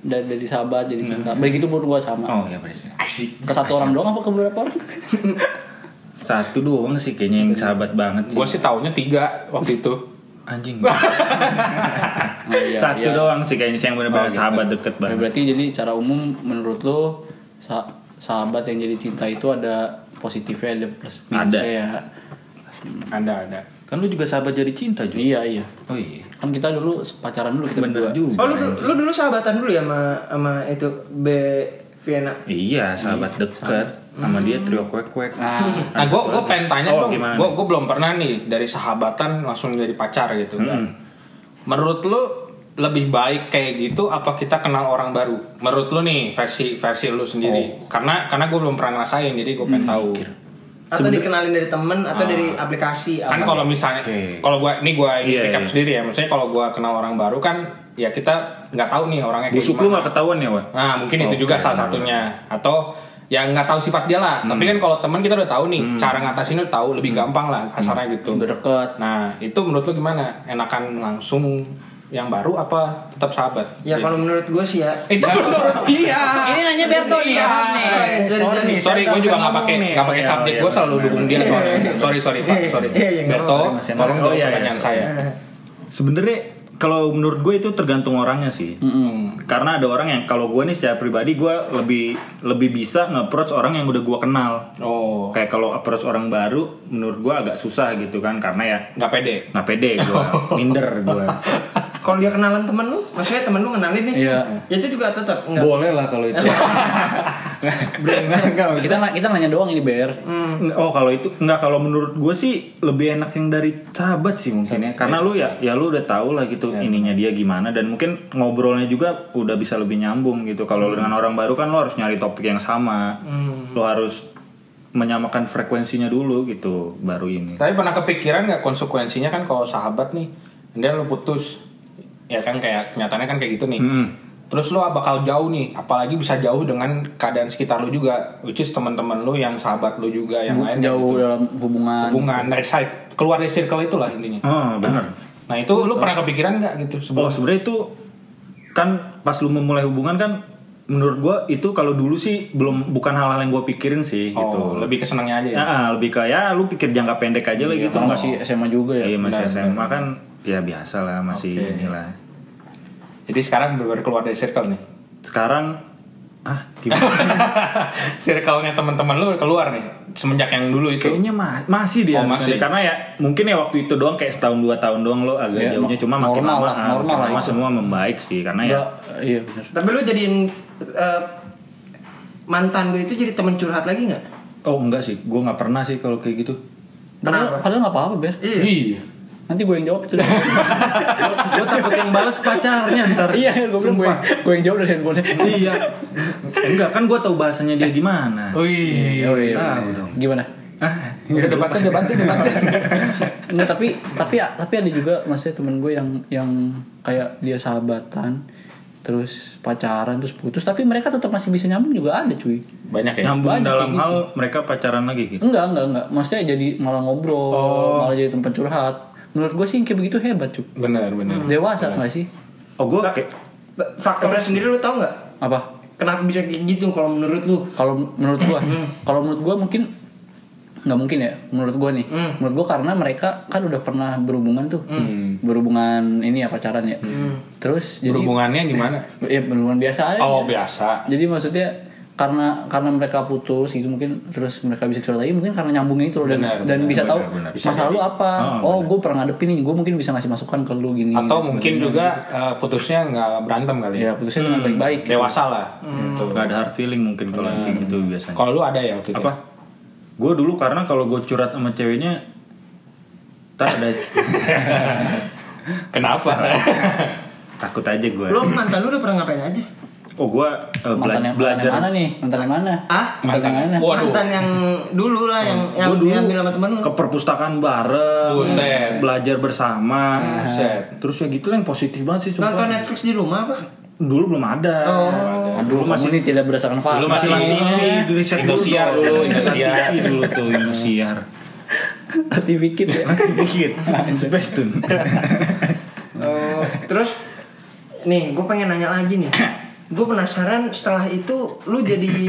S3: dari, dari sahabat jadi cinta. Begitu pun gua sama.
S4: Oh ya berarti.
S3: Ke satu orang doang apa ke beberapa orang?
S4: Satu doang sih kayaknya yang sahabat banget sih.
S2: Gue sih taunya tiga waktu itu.
S4: Anjing.
S3: Oh, iya,
S4: Satu
S3: iya.
S4: doang sih kayaknya sih yang
S2: Oh,
S4: benar-benar
S2: gitu.
S4: sahabat deket
S3: Ya,
S4: banget.
S3: berarti jadi cara umum menurut lu sa- sahabat yang jadi cinta itu ada positifnya ada plus minusnya
S4: Ada.
S3: ya.
S2: Ada ada.
S4: Kan lu juga sahabat jadi cinta juga.
S3: Iya iya.
S4: Oh iya.
S3: Kan kita dulu pacaran dulu kita berdua.
S4: Bener juga.
S1: Oh lu, lu dulu sahabatan dulu ya sama sama itu B Vienna.
S4: Iya, sahabat deket sama dia trio kuek-kuek.
S3: Nah,
S2: Nah, gue gue pengen tanya
S4: Oh,
S2: dong.
S4: gimana
S2: Gue
S4: nih? Hmm.
S2: gue belum pernah nih dari sahabatan langsung jadi pacar gitu. kan.
S4: Mm-mm.
S2: Menurut lu lebih baik kayak gitu apa kita kenal orang baru? Menurut lu nih versi versi lu
S4: Oh.
S2: sendiri. Karena karena gue belum pernah ngerasain jadi gue
S4: Hmm,
S2: pengen tahu.
S1: atau dikenalin dari temen
S4: Ah.
S1: atau dari aplikasi
S2: Kan
S1: apa.
S2: kalau misalnya
S4: Oke.
S2: kalau gua ini gua ini
S4: Iya,
S2: pick up
S4: iya.
S2: sendiri ya. Maksudnya kalau gua kenal orang baru kan ya kita nggak tahu nih orangnya kayak
S4: Busuk lu
S2: gimana.
S4: gak ketahuan ya, Wan?
S2: Nah, mungkin itu
S4: Oke,
S2: juga salah satunya. Atau ya nggak tahu sifat dia lah. Tapi
S4: Hmm.
S2: kan kalau teman kita udah tahu nih, cara ngatasinnya udah tahu lebih gampang lah kasarnya
S4: Hmm.
S2: gitu.
S3: udah deket
S2: Nah, itu menurut lu gimana? Enakan langsung yang baru apa tetap sahabat? Eh,
S1: ya kalau menurut gue sih ya
S2: itu menurut dia.
S3: Ini nanya Berto nih,
S2: Iya.
S3: Abang nih.
S1: Ah. Sorry, sorry.
S2: Sorry, gue juga nggak pakai nggak pakai subjek. Gue selalu dukung dia soalnya. Sorry, sorry, Pak. Sorry.
S1: Iya, iya, nggak
S2: Berto,
S4: apa-apa, Mas.
S2: tolong
S4: Oh,
S2: jawab
S4: iya, iya,
S2: pertanyaan
S4: sorry.
S2: saya.
S4: Sebenarnya kalau menurut gue itu tergantung orangnya sih. Karena ada orang yang kalau gue nih secara pribadi gue lebih lebih bisa nge-approach orang yang udah gue kenal.
S2: Oh,
S4: Kayak kalau approach orang baru menurut gue agak susah gitu kan karena ya
S2: nggak pede.
S4: nggak pede gue, minder gue.
S1: kalau dia kenalan temen lu maksudnya temen lu kenalin nih
S3: Iya.
S1: ya itu juga tetap enggak
S4: Boleh lah kalau itu. Nggak, nggak,
S3: Kita na- kita nanya doang ini Ber.
S1: Hmm.
S4: Nggak, Oh kalau itu nggak kalau menurut gue sih lebih enak yang dari sahabat sih mungkin ya karena lu ya ya lu udah tahu lah gitu ininya dia gimana dan mungkin ngobrolnya juga udah bisa lebih nyambung gitu kalau lu dengan orang baru kan lu harus nyari topik yang sama lu harus menyamakan frekuensinya dulu gitu baru ini
S2: Tapi pernah kepikiran nggak konsekuensinya kan kalau sahabat nih, dia lu putus, ya kan kayak kenyataannya kan kayak gitu nih. Terus lo bakal jauh nih, apalagi bisa jauh dengan keadaan sekitar lo juga, which is teman-teman lo yang sahabat lo juga yang lain
S3: Jauh
S2: gitu.
S3: dalam hubungan.
S2: hubungan dari side- keluar dari circle itulah intinya.
S4: oh benar
S2: Nah itu lo pernah kepikiran nggak gitu sebelum?
S4: Oh sebenarnya itu kan pas lu memulai hubungan kan menurut gua itu kalau dulu sih belum bukan hal-hal yang gua pikirin sih
S2: Oh,
S4: gitu.
S2: lebih kesenangnya aja ya.
S4: Ya, ah, lebih kayak lu pikir jangka pendek aja lah gitu
S3: Kita
S4: nggak
S3: masih SMA juga ya.
S4: Iya masih SMA kan ya biasa lah masih
S2: Oke.
S4: inilah.
S2: Jadi sekarang benar keluar dari circle nih.
S4: Sekarang ah gimana?
S2: Circle-nya teman-teman lo keluar nih semenjak yang dulu itu.
S4: Kayaknya ma- masih dia
S2: Oh, masih.
S4: karena ya mungkin ya waktu itu doang kayak setahun dua tahun doang lo agak
S3: Iya,
S4: jauhnya
S3: no-
S4: cuma makin
S3: normal
S4: lama
S3: lah,
S4: ah,
S3: normal
S4: makin
S3: lah
S4: lama
S3: itu.
S4: semua membaik sih karena ya
S3: Nggak, iya benar.
S1: tapi lu jadiin eh, mantan gue itu jadi temen curhat lagi nggak
S4: oh enggak sih gue nggak pernah sih kalau kayak gitu
S3: Padahal,
S1: Kenapa?
S3: padahal nggak apa-apa Ber.
S1: Iya.
S3: Nanti gue yang jawab itu.
S4: gue takut yang bales pacarnya ntar
S3: iya, gue bilang gitu. gue gue yang jawab dari handphonenya.
S4: iya enggak kan gue tahu bahasanya dia gimana
S2: Oh iya.
S3: Oh iya.
S4: Tahu
S3: bener.
S4: dong.
S3: Gimana?
S2: Udah debatnya, debatnya, debatnya.
S3: Nggak, tapi tapi ya- tapi ada juga maksudnya temen gue yang yang kayak dia sahabatan terus pacaran terus putus tapi mereka tetap masih bisa nyambung juga ada cuy
S2: Banyak ya.
S4: nyambung
S3: Banyak
S4: dalam
S3: kayak
S4: hal mereka pacaran lagi gitu
S3: enggak enggak enggak maksudnya jadi malah ngobrol malah jadi tempat curhat menurut gue sih yang kayak begitu hebat cuy
S2: Benar, benar.
S3: dewasa nggak sih
S4: oh gue kayak
S1: Ba- faktornya sendiri lu tau nggak
S3: apa
S1: kenapa bisa kayak gitu kalau menurut lu
S3: kalau menurut gua kalau menurut gua mungkin nggak mungkin ya menurut gua nih menurut gua karena mereka kan udah pernah berhubungan tuh
S2: Mm.
S3: berhubungan ini ya pacaran ya terus jadi
S2: Berhubungannya gimana?
S3: ya berhubungan biasa aja
S2: Oh biasa.
S3: jadi maksudnya karena karena mereka putus gitu mungkin terus mereka bisa curhat lagi mungkin karena nyambungnya itu loh dan
S2: Benar,
S3: dan
S2: benar, Ah,
S3: bisa tahu
S4: benar, benar. Bisa
S3: masa lalu apa
S4: Oh,
S3: oh, gue pernah ngadepin nih gue mungkin bisa ngasih masukan ke lu gini
S2: Atau mungkin juga eh, putusnya nggak berantem kali ya.
S3: ya putusnya dengan baik-baik
S2: Dewasa lah. Gitu.
S4: nggak ada hard feeling mungkin kalau gitu. yang kayak gitu biasanya
S2: Kalau lu ada ya waktu itu.
S4: apa gue dulu karena kalau gue curhat sama ceweknya tak ada
S2: Kenapa?
S4: takut aja gue
S1: lu mantan lu udah pernah ngapain aja
S4: oh gue
S3: mantan yang mantan
S4: belajar
S3: yang mana nih mantan yang mana
S1: ah
S3: mantan yang mana
S2: Waduh.
S1: mantan yang dulu lah yang yang
S4: gue dulu
S1: diambil sama temen lu
S4: ke perpustakaan bareng
S2: Buset.
S4: belajar bersama
S2: Buset.
S4: terus ya gitu lah yang positif banget sih sumpah.
S1: nonton Netflix di rumah apa
S4: dulu belum ada
S3: Aduh,
S4: Dulu
S3: kamu ini tidak berdasarkan fakta.
S2: Dulu Oh. masih
S4: Silang
S2: Iya.
S4: TV, riset
S2: Indosiar dulu, Indosiar.
S4: TV dulu tuh Indosiar.
S3: Nanti bikin ya.
S4: Dikit, Spacetoon.
S1: Oh, terus nih gue pengen nanya lagi nih gue penasaran setelah itu lu jadi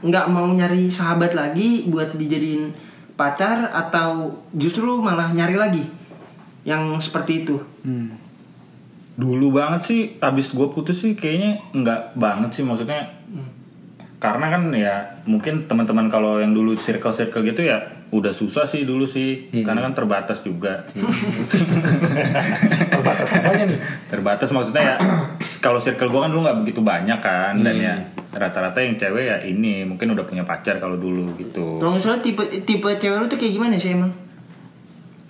S1: nggak mau nyari sahabat lagi buat dijadiin pacar atau justru malah nyari lagi yang seperti itu
S4: Dulu banget sih, abis gue putus sih kayaknya nggak banget sih maksudnya.
S2: Hmm.
S4: Karena kan ya mungkin teman-teman kalau yang dulu circle-circle gitu ya udah susah sih dulu sih,
S2: Hmm.
S4: karena kan terbatas juga.
S2: Terbatas apanya nih?
S4: terbatas maksudnya ya kalau circle gue kan dulu nggak begitu banyak kan
S2: Hmm.
S4: dan ya rata-rata yang cewek ya ini mungkin udah punya pacar kalau dulu gitu.
S1: kalau misalnya tipe tipe cewek lu tuh kayak gimana sih emang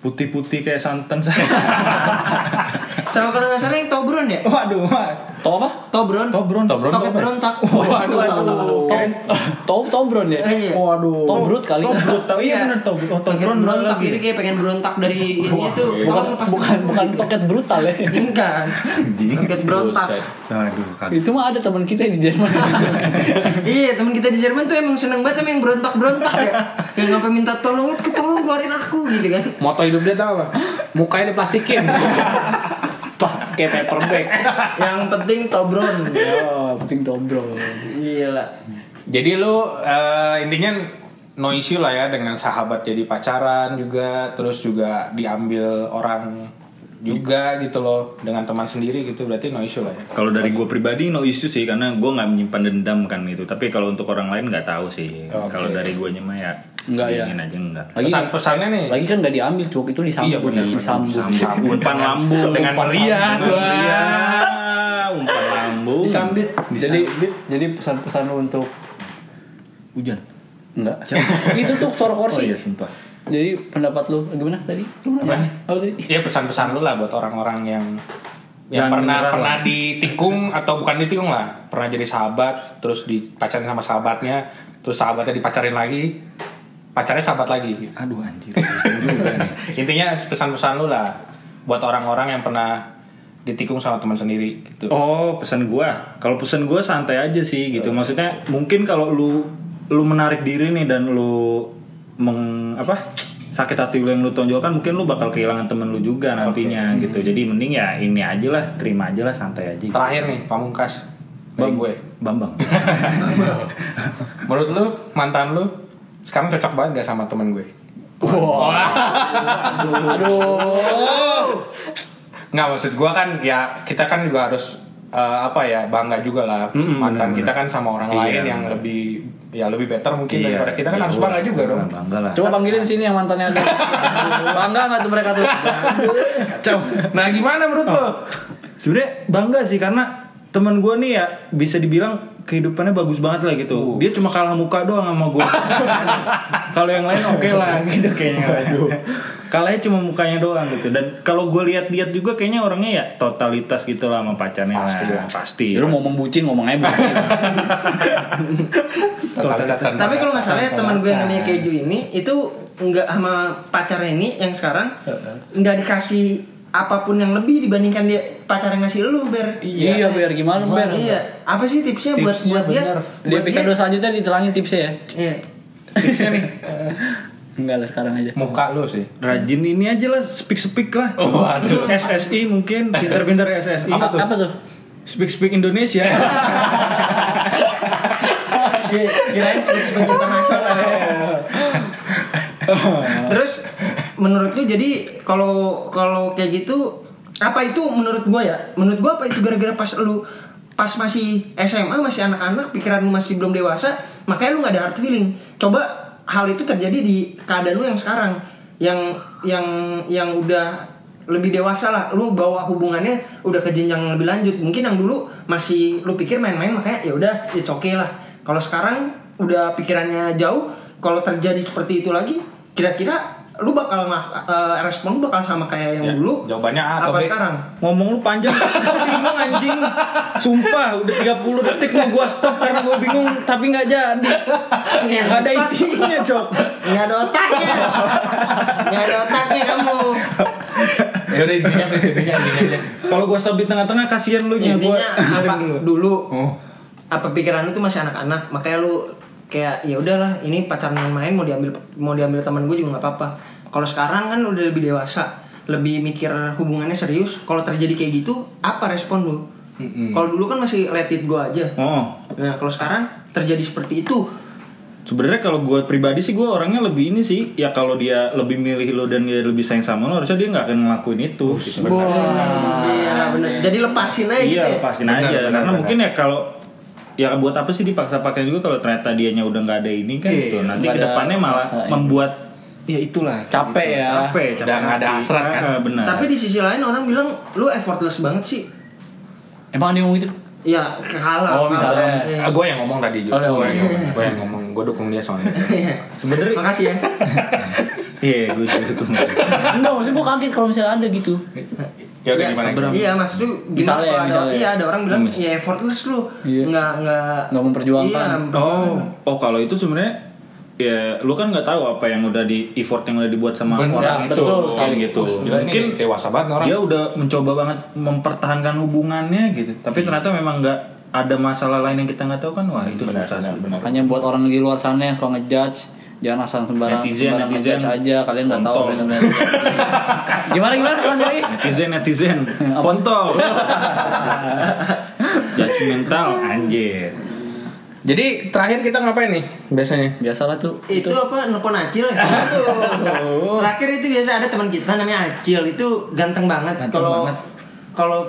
S4: putih-putih kayak santan saya.
S1: Sama kalau nggak salah yang Tobron ya?
S4: Waduh, wah.
S3: Tau apa?
S1: Tobron.
S4: Tobron,
S2: Tobron
S1: Toket
S2: apa ya?
S1: berontak.
S4: Waduh, waduh. Keren.
S3: Tau tau Bron ya?
S1: Iya.
S2: Waduh.
S3: Tobrut kali.
S4: Tobrut, tau iya bener Tobron. Oh,
S1: Toket
S4: Tobron bener
S1: berontak.
S4: lagi.
S1: Jadi kayak pengen berontak dari ini tuh.
S3: Bukan
S1: Tolong lepas
S3: bukan
S1: tangan.
S3: bukan toket brutal ya.
S1: Bukan. Toket berontak.
S2: Buset.
S4: Aduh, kan. kaget.
S3: Itu mah ada teman kita di Jerman.
S1: Iya teman kita di Jerman tuh emang seneng banget emang yang berontak-berontak ya Yang ngapa minta tolong, "Ut, tolong keluarin aku gitu kan
S2: Moto hidup dia tau apa? Mukanya diplastikin.
S4: Pakai paperback.
S1: Yang penting Tobron
S3: Ya, penting dobro.
S1: Gila
S2: Jadi lu eh, intinya no issue lah ya dengan sahabat jadi pacaran juga terus juga diambil orang juga gitu loh dengan teman sendiri gitu berarti no issue lah ya.
S4: Kalau dari gue pribadi no issue sih karena gue nggak menyimpan dendam kan gitu. Tapi kalau untuk orang lain nggak tahu sih.
S2: Oke.
S4: Kalau dari gue mah ya
S3: Nggak, ya.
S4: ingin aja enggak.
S3: Lagi
S2: Pesan pesannya nih.
S3: lagi kan nggak diambil cuk itu disambut,
S2: Iya, bener, bener.
S3: disambut.
S4: Sambut umpan lambung
S2: dengan
S4: umpan
S2: meriah,
S4: lambung,
S2: tuh.
S4: meriah. umpan lambung.
S3: Disambit. Jadi
S4: Disambit.
S3: jadi pesan-pesan lu untuk
S4: hujan.
S3: enggak. itu tuh suara
S4: Oh
S3: kursi.
S4: iya sumpah.
S3: Jadi pendapat lu gimana tadi?
S2: Apa?
S3: Apa sih?
S2: Ya pesan-pesan lu lah buat orang-orang yang yang
S4: Jangan
S2: pernah
S4: menyerah
S2: pernah
S4: lah.
S2: ditikung atau bukan ditikung lah, pernah jadi sahabat, terus dipacarin sama sahabatnya, terus sahabatnya dipacarin lagi, pacarnya sahabat lagi.
S4: Aduh anjir.
S2: Intinya pesan-pesan lu lah buat orang-orang yang pernah ditikung sama teman sendiri gitu.
S4: Oh, pesan gua. Kalau pesan gua santai aja sih gitu. Maksudnya mungkin kalau lu lu menarik diri nih dan lu meng apa? sakit hati lu yang lu tonjolkan mungkin lu bakal kehilangan temen lu juga nantinya
S2: Hmm.
S4: gitu. Jadi mending ya ini aja lah, terima aja lah, santai aja.
S2: Terakhir nih, pamungkas dari gue.
S4: Bambang.
S2: Menurut lu mantan lu sekarang cocok banget gak sama teman gue? Nggak maksud gua kan ya kita kan juga harus eh, apa ya bangga juga lah
S4: Mm-mm,
S2: mantan
S4: bener-bener.
S2: kita kan sama orang
S4: Iya,
S2: lain yang
S4: bener.
S2: lebih ya lebih better mungkin
S4: Iya,
S2: daripada kita kan
S4: iya,
S2: harus
S4: gua
S2: bangga juga dong.
S4: Bangga lah.
S3: Coba panggilin sini yang mantannya ada. Bangga nggak tuh mereka tuh?
S4: Coba.
S2: Nah gimana menurut lo?
S4: Sebenarnya bangga sih karena teman gue nih ya bisa dibilang kehidupannya bagus banget lah gitu. Dia cuma kalah muka doang sama gue. kalau yang lain oke lah gitu kayaknya. Kalahnya cuma mukanya doang gitu. Dan kalau gue lihat-lihat juga kayaknya orangnya ya totalitas gitu lah sama pacarnya.
S2: Pasti lah.
S4: Pasti.
S3: Ya, lu ngomong bucin ngomong aja bucin.
S2: Totalitas tanpa-
S1: Tapi kalau nggak salah ya, teman gue yang namanya
S2: Totalitas.
S1: Keju ini Itu nggak sama pacarnya ini yang sekarang nggak dikasih apapun yang lebih dibandingkan dia pacar yang ngasih lu Ber
S3: Iya, Ber, gimana, Ber?
S1: Iya Apa sih tipsnya, buat
S2: Tipsnya
S1: buat dia
S2: bener.
S3: Di
S1: buat
S3: episode
S1: dia-
S3: selanjutnya ditelangin tipsnya ya.
S1: Iya
S3: Enggak lah sekarang aja.
S2: Muka lu sih.
S4: Rajin ini aja lah, speak-speak lah.
S2: Oh, aduh.
S4: SSI mungkin, pinter-pinter SSI.
S3: Apa, apa tuh?
S4: Speak-speak Indonesia.
S1: Kirain sebut-sebut internasional Terus menurut lu jadi kalau kalau kayak gitu apa itu menurut gua ya? Menurut gua apa itu gara-gara pas lu pas masih SMA masih anak-anak pikiran lu masih belum dewasa makanya lu nggak ada hard feeling. Coba hal itu terjadi di keadaan lu yang sekarang yang yang yang udah lebih dewasa lah lu bawa hubungannya udah ke jenjang yang lebih lanjut mungkin yang dulu masih lu pikir main-main makanya ya udah it's okay lah kalau sekarang udah pikirannya jauh kalau terjadi seperti itu lagi kira-kira lu bakal ngelak- eh, respon lu bakal sama kayak yang
S2: Ya,
S1: dulu
S2: jawabannya A atau
S1: apa
S2: B?
S1: sekarang
S4: Ngomong lu panjang bingung anjing. Sumpah udah 30 detik mau gua stop karena gua bingung tapi nggak jadi.
S3: Iya.
S4: Nggak ada intinya, Cok.
S1: nggak ada otaknya nggak ada otaknya kamu
S2: Ya udah intinya prinsipnya intinya aja.
S4: Kalau gua stop di tengah-tengah kasihan lu nya gua.
S1: intinya apa
S4: dengerin dulu.
S1: dulu
S4: Oh.
S1: apa pikiran lu tuh masih anak-anak makanya lu kayak ya udahlah ini pacaran main mau diambil mau diambil teman gue juga nggak apa-apa kalau sekarang kan udah lebih dewasa lebih mikir hubungannya serius kalau terjadi kayak gitu apa respon lu kalau dulu kan masih let it go aja
S4: Oh.
S1: nah kalau sekarang terjadi seperti itu
S4: Sebenarnya kalau gua pribadi sih gua orangnya lebih ini sih ya kalau dia lebih milih lo dan dia lebih sayang sama lo harusnya dia nggak akan ngelakuin itu. gitu.
S1: iya bener jadi lepasin aja gitu ya
S4: Iya lepasin
S2: Benar,
S4: aja
S2: benar,
S4: karena
S2: benar.
S4: mungkin ya kalau ya buat apa sih dipaksa pakai juga kalau ternyata dianya udah nggak ada ini kan
S2: Iya,
S4: gitu nanti
S3: nggak ada
S4: kedepannya malah
S3: rasa ini.
S4: membuat ya itulah
S3: Capek ya.
S4: capek
S2: Iya. Udah
S4: capek
S2: nggak ada
S4: hati.
S2: hasrat kan?
S4: Ah, benar
S1: tapi di sisi lain orang bilang lu effortless banget sih
S3: Emang dia ngomong gitu?
S1: Ya, kalah.
S3: Oh, misalnya.
S1: Iya.
S2: gue Ah, yang ngomong tadi
S3: Oh,
S2: juga.
S3: udah, oke.
S2: gue yang ngomong, gue yang ngomong, gue dukung dia soalnya.
S1: Iya.
S4: Sebenarnya-
S1: Makasih ya.
S4: Iya, gue juga dukung.
S3: Enggak, maksudnya gue kaget kalau misalnya ada gitu.
S2: Ya udah
S1: Iya,
S2: gimana? gimana?
S1: Iya, maksud lu gimana
S3: Misalnya,
S1: kalau ada-
S3: misalnya.
S1: Iya, ada orang bilang ya effortless lu.
S3: Iya.
S1: Nggak nggak
S3: Nggak memperjuangkan.
S1: Iya,
S4: Oh, oh kalau itu sebenarnya ya lu kan nggak tahu apa yang udah di effort yang udah dibuat sama
S2: Bener,
S4: orang
S3: betul
S4: itu
S3: sekali.
S4: gitu.
S2: Gila, ini
S4: Mungkin
S2: dewasa banget nih orang.
S4: dia udah mencoba banget mempertahankan hubungannya gitu.
S2: Iya.
S4: Tapi ternyata memang nggak ada masalah lain yang kita nggak tahu kan. Wah, itu
S2: benar,
S4: susah
S2: benar,
S4: sih.
S2: benar.
S3: Makanya buat orang di luar sana yang suka ngejudge, jangan asal sembarang
S4: Netizen,
S3: sembarang
S4: netizen.
S3: ngejudge aja, kalian nggak tahu apa yang
S4: Kontol.
S3: sebenarnya. gimana gimana kelas lagi?
S4: Netizen, netizen, kontol, judgmental, anjir.
S2: Jadi terakhir kita ngapain nih biasanya?
S3: Biasalah tuh.
S1: itu apa nelpon Acil ya? Aduh. terakhir itu biasa ada teman kita namanya Acil itu ganteng banget kalau kalau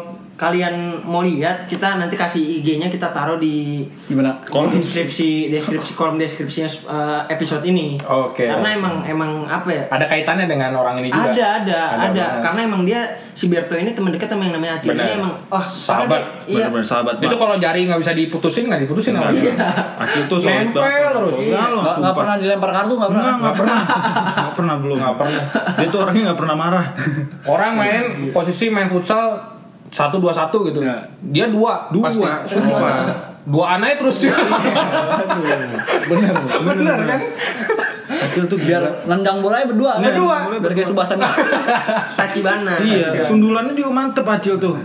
S1: kalian mau lihat kita nanti kasih IG-nya kita taruh di
S3: Gimana?
S1: kolom deskripsi deskripsi kolom deskripsinya eh, episode ini
S2: Oke.
S1: karena emang emang apa ya
S2: Ada kaitannya dengan orang ini juga?
S1: ada ada ada,
S2: banget.
S1: karena emang dia si Berto ini teman dekat sama yang namanya Acil
S2: Benar.
S1: ini emang oh
S4: Sahabat,
S1: parah deh. iya
S4: benar-benar sahabat.
S2: Itu
S4: banget.
S2: kalau jari nggak bisa diputusin nggak diputusin apa?
S4: Aki tuh solid
S2: Nempel
S4: banget.
S2: terus.
S4: Enggak
S3: Nggak
S4: loh,
S3: nggak
S4: sumpah.
S3: pernah dilempar kartu nggak pernah.
S4: Enggak, enggak pernah. Enggak pernah belum.
S2: Nggak pernah.
S4: Dia tuh orangnya enggak pernah marah.
S2: Orang main posisi main futsal satu dua satu gitu.
S4: Ya.
S2: Dia dua,
S4: Dua,
S2: pasti.
S4: sumpah.
S2: Dua anaknya terus. bener, bener kan?
S4: Acil tuh
S3: Biar
S4: Oh, biar
S3: nendang bolanya berdua. kan?
S4: Berdua.
S3: Biar kayak Subasa gitu.
S1: Tachibana
S4: Iya, sundulannya juga mantep Acil tuh.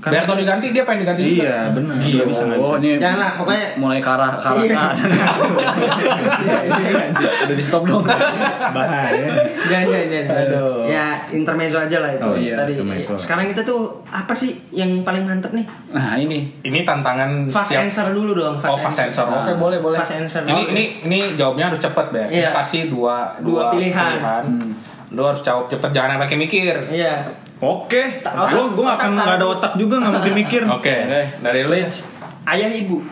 S4: Kan-
S2: Biar Tony ganti dia pengen diganti. juga.
S4: Iya, benar. Iya, bisa nggak
S3: Oh,
S4: bisa.
S3: ini
S1: janganlah pokoknya
S3: mulai karah karah.
S1: Iya.
S3: Udah di stop dong.
S4: Bahaya.
S1: jangan jangan jangan. ya intermezzo aja lah itu
S4: Oh, iya,
S1: tadi
S4: intermezzo.
S1: sekarang kita tuh apa sih yang paling mantep nih
S3: Nah, ini.
S2: Ini tantangan
S1: fast
S2: setiap
S1: answer dulu dong
S2: Oh, fast answer. Oke, boleh, boleh.
S1: Fast answer.
S2: Ini
S1: Oke.
S2: ini ini jawabnya harus cepat, Ber.
S1: Iya.
S2: Kasih dua
S1: Dua pilihan. Hmm.
S2: Lu harus jawab cepat, jangan pakai mikir.
S1: iya
S4: Oke.
S1: Otak.
S4: Gue gue akan
S1: Otak.
S4: nggak ada otak juga nggak mungkin mikir.
S2: Oke, dari lu. ya.
S1: ayah ibu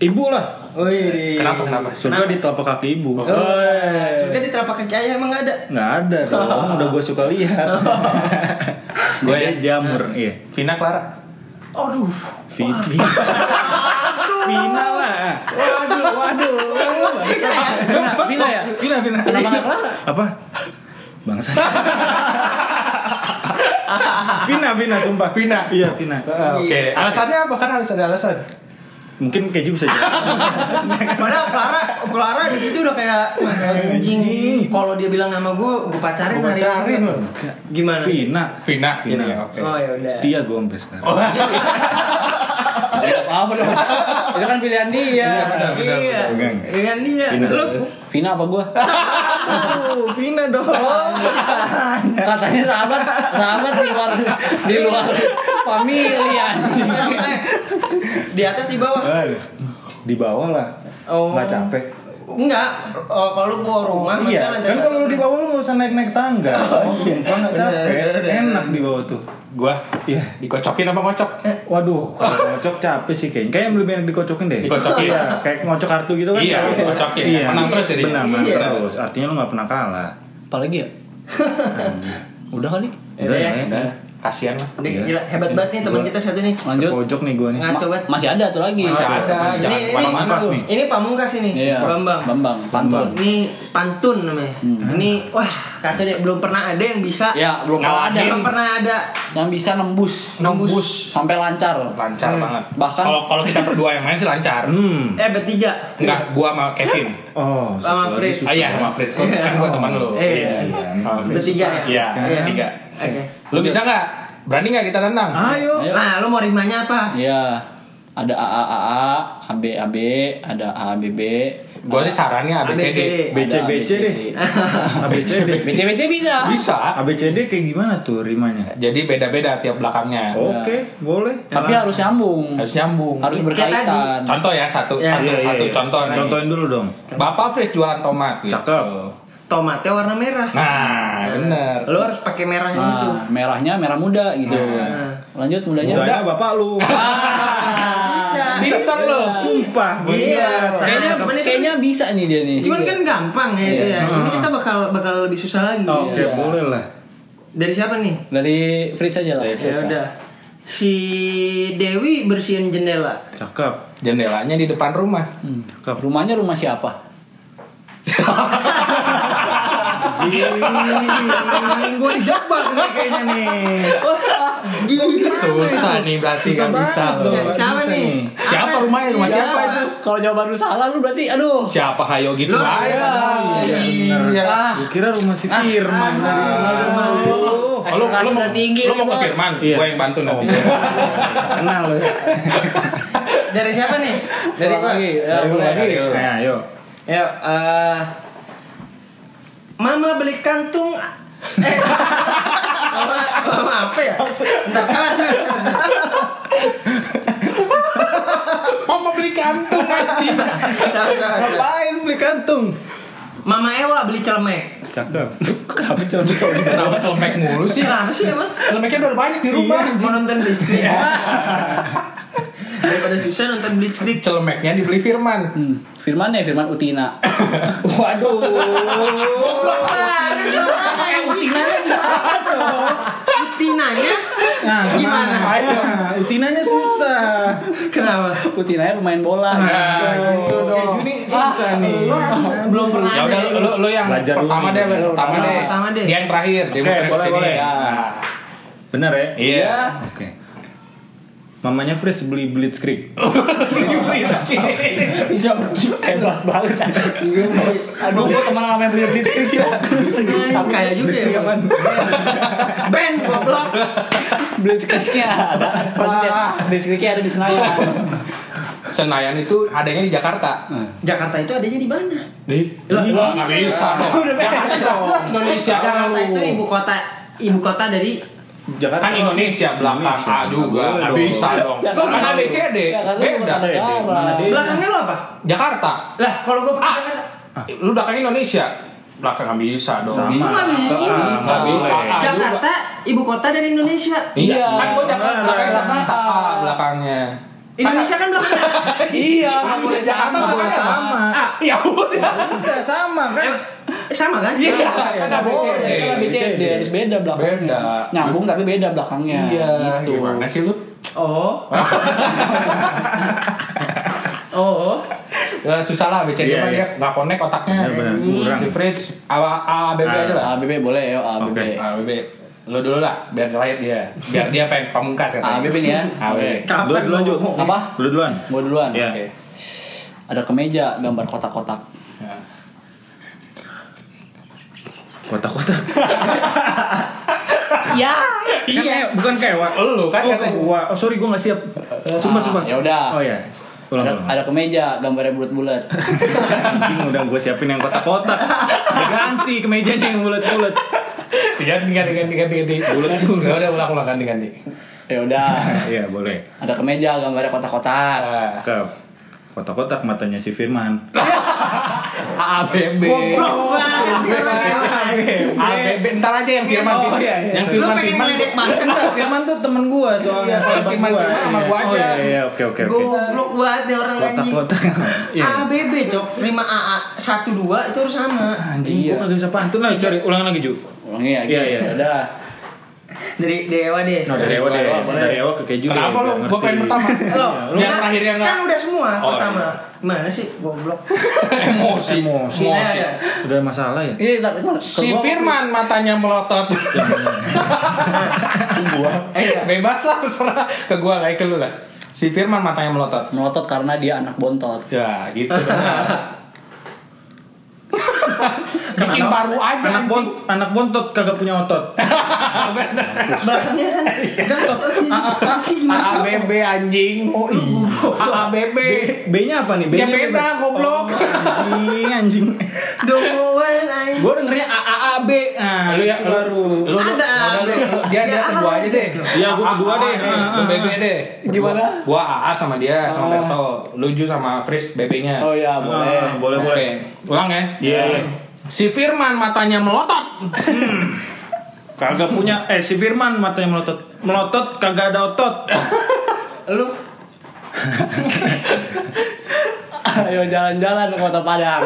S4: Ibu lah.
S1: Wih.
S2: Kenapa, kenapa?
S4: Surga di telapak kaki ibu.
S1: Wih. Surga di telapak kaki ayah emang nggak ada
S4: Nggak ada dong. Udah gue suka lihat.
S2: Gua
S4: Gue
S2: ya?
S4: jamur. Iya.
S2: Vina Clara.
S1: aduh
S4: Vivi. Vina lah. Waduh, waduh. Cepet
S3: Vina
S4: dong.
S3: ya?
S4: Oh, Vina, Vina.
S3: Kenapa nggak Clara?
S4: Apa? Bangsa. Vina, Vina, sumpah.
S2: Vina.
S4: Iya, Vina.
S2: Oke, alasannya apa? Kan harus ada alasan.
S4: Mungkin keju bisa jadi.
S1: padahal Clara Clara di situ udah kayak "Wah, anjing kalau dia bilang sama gue gue pacarin
S2: Gua
S1: hari
S2: pacarin.
S1: ini gimana
S4: Vina.
S2: Vina,
S4: Vina.
S2: Vina. Oke.
S1: oh
S2: Oh, ah.
S1: ya udah
S4: Setia gue sampai sekarang.
S3: Apa dong? Itu kan pilihan dia.
S2: Ah,
S1: iya
S4: benar, benar.
S1: dengan dia
S4: Vina.
S1: lu
S3: Vina apa gua?
S4: Aduh, Vina dong.
S3: Katanya sahabat, sahabat di luar di luar family anjing.
S1: Eh, di atas di bawah
S4: Aduh, Di bawah lah.
S1: Oh.
S4: Nggak capek.
S1: Enggak, oh, kalau lu bawa rumah
S4: Iya,
S1: misalnya ada
S4: kan
S1: satu-
S4: kalau lu di bawah lu nggak usah naik-naik tangga. Oh, sumpah nggak capek.
S1: Bener, bener.
S4: Enak di bawah tuh.
S2: Gua
S4: Iya.
S2: dikocokin apa ngocok?
S4: Waduh, kalau ngocok capek sih kayaknya. Kayaknya lebih enak dikocokin deh.
S2: Dikocokin.
S4: Iya, kayak ngocok kartu gitu kan.
S2: Iya, dikocokin. Menang terus jadi.
S4: Menang, menang
S1: Iya.
S4: terus. Artinya lu gak pernah kalah.
S3: Apalagi ya? Hmm. Udah kali.
S1: Yaudah ya.
S4: Eh,
S2: Kasihan lah.
S1: Ini gila, hebat banget nih
S2: Iya.
S1: teman kita satu nih.
S3: Lanjut.
S4: Pojok nih gua nih.
S1: Ngaco banget.
S3: Masih ada tuh lagi.
S2: Masih ada, jangan
S1: ini-
S2: kemana-mana
S4: ini-
S2: lu.
S4: nih.
S1: Ini pamungkas ini,
S3: Iya.
S1: Bambang.
S3: Bambang, pantun.
S1: Ini pantun namanya. Ini wah, kata dia belum pernah ada yang bisa.
S2: Iya.
S3: Ya, belum pernah ada.
S1: Belum pernah ada.
S3: Yang bisa nembus,
S1: Nembus.
S3: sampai lancar.
S2: Lancar banget.
S3: Bahkan-
S2: kalau kalau kita berdua yang main sih lancar.
S4: Hmm.
S1: Eh, bertiga.
S2: Enggak, gua sama Kevin.
S4: Oh,
S1: Sama
S4: satu lagi
S1: Fritz.
S4: susah.
S2: Ah iya, sama Fritz. Kan gua teman lu.
S1: Iya.
S2: Sama Fritz.
S1: Bertiga ya.
S2: Iya, bertiga.
S1: Oke.
S2: Lu bisa nggak? Berani nggak kita tantang?
S4: Ayo.
S3: Ayo.
S1: Nah, lu mau rimanya apa?
S3: Iya. Ada AA AA, AB AB, ada ABB.
S2: Gua sih sarannya
S1: ABCD.
S2: ABCD.
S4: BC BC deh. ABCD.
S3: BC bisa.
S2: Bisa.
S4: ABCD kayak gimana tuh rimanya?
S2: Jadi beda-beda tiap belakangnya.
S4: Oke, boleh.
S3: Tapi harus nyambung.
S2: Harus nyambung.
S3: Harus
S1: Kayak
S3: berkaitan.
S2: Contoh ya satu,
S1: Ya,
S2: satu,
S4: Iya, iya,
S2: satu
S4: iya.
S2: contoh nih.
S4: Contohin dulu dong.
S2: Bapak Fritz jualan tomat gitu.
S4: Cakep. Iya.
S1: Tomatnya warna merah.
S2: Nah, bener.
S1: Lu harus pakai merahnya itu.
S3: Nah, merahnya merah muda gitu.
S2: Ah.
S3: Lanjut mudanya.
S4: Mudanya bapak lu.
S1: Bisa.
S2: Pinter lo.
S4: Sumpah,
S1: Iya.
S4: bener.
S3: Kayaknya
S1: Temen itu-
S3: kayaknya
S2: kan-
S3: bisa nih dia nih.
S1: Cuman kan gampang ya itu ya. Ini kita bakal bakal lebih susah lagi.
S4: Oke, boleh lah.
S1: Dari siapa nih?
S3: Dari Fritz aja lah.
S2: Dari
S1: Ya udah. si Dewi bersihin jendela.
S4: Cakep.
S2: Jendelanya di depan rumah.
S3: Rumahnya rumah siapa?
S4: gue dijebak nih kayaknya nih.
S2: Susah nih berarti kan bisa loh.
S1: Siapa nih?
S2: Siapa rumahnya?
S4: Iya.
S2: Rumah siapa itu?
S3: Kalau jawaban lu salah lu berarti aduh.
S2: Siapa hayo gitu?
S1: Loh,
S2: aja.
S1: iya,
S2: Iya, iya.
S3: Ah,
S4: Gue kira rumah si Firman. nah.
S2: Oh, Lu
S3: Ekspektasi
S2: lu mau
S3: udah tinggi
S2: lu
S3: nih,
S2: mau
S3: Bos.
S2: ke Firman,
S4: Iya.
S2: gua yang bantu nanti.
S4: Kenal lo.
S1: Dari siapa nih? Dari
S3: Ulang
S1: gua.
S3: lagi. Ya,
S2: Dari lu
S3: boleh.
S2: lagi.
S4: Nah, ayo.
S1: Ya, eh, Mama beli kantung eh, mama, mama apa ya? Entar salah, salah, salah, salah.
S2: Mau mau beli kantung anjing.
S1: Salah, salah, salah.
S4: Ngapain beli kantung?
S1: Mama Ewa beli celemek.
S4: Cakep. Kenapa celana kau di
S2: Kenapa celemek mulu sih?
S1: Kenapa Nah, sih emang?
S2: Celemeknya udah banyak di rumah.
S1: Mau nonton Disney. Daripada susah nonton
S4: Iya.
S1: Disney.
S2: Celemeknya dibeli Firman.
S3: Hmm, Firman ya, Firman Utina.
S1: Goblok banget tuh orang yang Utinanya gimana tuh? Utinanya
S4: Nah,
S1: gimana?
S4: Ayo. Utinanya susah.
S1: Kenapa?
S3: Utinanya pemain bola.
S2: Nah, gitu dong.
S4: Ini susah nih.
S1: Belum pernah
S2: Ya
S1: ada
S2: udah
S1: sih.
S2: lu, lu, lu yang
S4: Belajar dulu
S2: pertama
S4: nih.
S2: deh, lu pertama
S1: Pertama,
S2: deh.
S1: pertama deh.
S2: Dia yang terakhir, dia
S4: Oke,
S2: mau
S4: boleh,
S2: kesini.
S4: boleh.
S2: Nah,
S4: Bener ya?
S2: Iya.
S4: Oke. Mamanya Fris beli Blitzkrieg.
S3: Bisa begitu hebat banget. Iya. Aduh, gua teman sama yang beli ya.
S1: Nah, kayak juga ya. Bang. Ben goblok.
S3: Blitzkriegnya ada.
S1: Wah.
S3: Blitzkriegnya ada di Senayan.
S2: Senayan itu adanya di Jakarta.
S1: Nah. Jakarta itu adanya di mana?
S2: Di? Wah, nggak bisa dong. Jakarta jelas-jelas Indonesia.
S1: Jakarta itu ibu kota ibu kota dari
S4: Jakarta
S2: Kan Indonesia belakang A juga, nggak bisa dong. Lu kan ABCD,
S4: Eh,
S3: Jakarta bukan
S2: beda.
S3: negara.
S4: Mana
S1: belakangnya lo apa?
S2: Jakarta.
S1: Lah, kalau gue
S2: Ah.
S1: pakai Jakarta
S2: Lu belakang Indonesia, belakang nggak bisa dong.
S4: Sama.
S1: Lu nggak bisa.
S2: Nggak bisa. A juga.
S1: Jakarta ibu kota dari Indonesia.
S2: Iya,
S3: Iya.
S2: kan gua Jakarta,
S4: Belakang.
S2: Jakarta A belakangnya.
S1: Indonesia kan belakang.
S3: Iya, nggak boleh
S2: Jakarta
S3: sama.
S2: belakangnya
S4: sama.
S2: A. Ya udah.
S4: Udah sama kan?
S1: Eh, sama kan?
S2: Iya,
S4: ya,
S2: ada
S3: Nggak boleh,
S2: BCD.
S3: kan
S4: eh,
S3: BCD harus beda belakangnya.
S2: Beda.
S3: Nyambung tapi beda belakangnya.
S4: Iya,
S3: gitu.
S2: Gimana sih lu?
S1: Oh. oh.
S2: Ya, susah lah BCD
S4: Iya,
S2: mah
S4: iya.
S2: dia nggak connect otaknya. Hmm.
S4: Iya, benar. Kurang. Ah.
S2: Si Fritz, A, A, B, B aja lah.
S3: ABB boleh ya, ABB.
S4: Oke.
S2: A, B, B. Lu dulu lah, biar terakhir dia. Biar dia pengen pamungkas ya.
S3: ABB nih ya.
S2: A, B, B.
S4: Lu
S1: Kapan
S4: duluan,
S1: lo?
S4: Ju.
S3: Apa?
S4: Lu duluan.
S3: Gua duluan.
S4: Iya.
S2: Oke.
S3: Ada kemeja gambar kotak-kotak.
S4: Iya. Kotak-kotak.
S3: Ya.
S2: Kan
S4: Iya, bukan kewak.
S2: Lu kan
S4: Oh,
S2: katanya. ya
S4: gua. Oh, sorry gua enggak siap. Eh, Sumpah,
S3: Ah,
S4: sumpah.
S3: yaudah.
S4: Oh iya. Ulang,
S3: Ada,
S4: ulang.
S3: ada kemeja gambarnya bulat-bulat.
S4: Anjing, udah gue siapin yang kotak-kotak. Udah ganti kemejanya yang bulat-bulat.
S2: Ganti, ganti, ganti, ganti, ganti. Bulat dulu. Ya udah ulang, ulang, ganti, ganti.
S3: ya udah.
S4: Iya, boleh.
S3: Ada kemeja gambarnya kotak-kotak.
S2: Ah,
S4: Ke kotak-kotak matanya si Firman.
S2: A, B, B.
S1: Goblok banget dia orang
S2: A, B, B. Ntar aja yang Firman.
S4: Oh,
S2: Firman.
S4: iya, iya,
S2: Yang
S4: sorry.
S1: Lu
S2: Firman,
S1: pengen
S2: Firman.
S1: ngeledek banget kan?
S4: Firman tuh temen gue soalnya.
S2: Iya,
S4: sahabat
S2: Firman
S4: gua.
S2: Firman sama
S4: Iya.
S2: gua aja.
S4: Oh iya, iya, oke, oke, oke.
S1: Goblok banget dia orang anjing.
S4: Kotak-kotak. Iya.
S1: ABB cok 5 AA 12 itu harus sama.
S4: Anjing,
S2: Iya.
S4: gue kagak bisa pantun lah. Cari, ulangan lagi, Ju.
S3: Ulangi ya.
S4: Iya, iya.
S3: Ya udah.
S1: Dari Dewa deh.
S4: No, dari Ewa deh.
S3: Ewa, boleh.
S4: Dari Ewa ke keju deh.
S2: Kenapa lu? Gua
S4: Gak ya, ngerti.
S2: pengen pertama.
S1: Lo,
S2: Lu yang terakhir yang
S1: kan
S2: nggak-
S1: udah semua
S2: Oh,
S1: pertama. Mana sih goblok? ya.
S2: Emosi.
S4: Emosi.
S1: Sini aja.
S4: Udah ada masalah ya?
S3: Iya, tapi mana?
S2: Si Firman matanya melotot.
S3: gua
S2: Eh, iya, bebas lah terserah ke gua lah, ke lu lah. Si Firman matanya melotot.
S3: melotot karena dia anak bontot.
S2: Ya, gitu. Bikin paru aja
S4: Anak
S2: anjing. Eh.
S4: bon, anak bontot kagak punya otot.
S1: Belakangnya kan. Kan sih gimana?
S2: AABB anjing. Oh, AABB.
S4: B-nya apa nih?
S2: Ya
S4: B-nya
S2: beda goblok.
S4: Anjing, anjing.
S1: Doan anjing.
S4: Gue dengernya AAAB. Nah,
S2: Lu ya
S4: itu baru.
S2: Lu, lu,
S1: Ada.
S2: udah, lu, lu, dia dia
S1: Ya,
S2: kedua aja deh.
S4: Iya, gua kedua deh.
S2: Lu BB deh. Berdua.
S3: Gimana?
S2: Gua AA sama dia,
S3: Ah.
S2: sama Berto. Luju sama Fris BB-nya.
S3: Oh iya, boleh.
S4: Ah, boleh, boleh.
S2: Oke, ulang ya.
S4: Iya.
S2: Si Firman matanya melotot.
S4: Kagak punya eh si Firman matanya melotot. Melotot kagak ada otot.
S1: Lu
S3: Ayo jalan-jalan ke Kota Padang.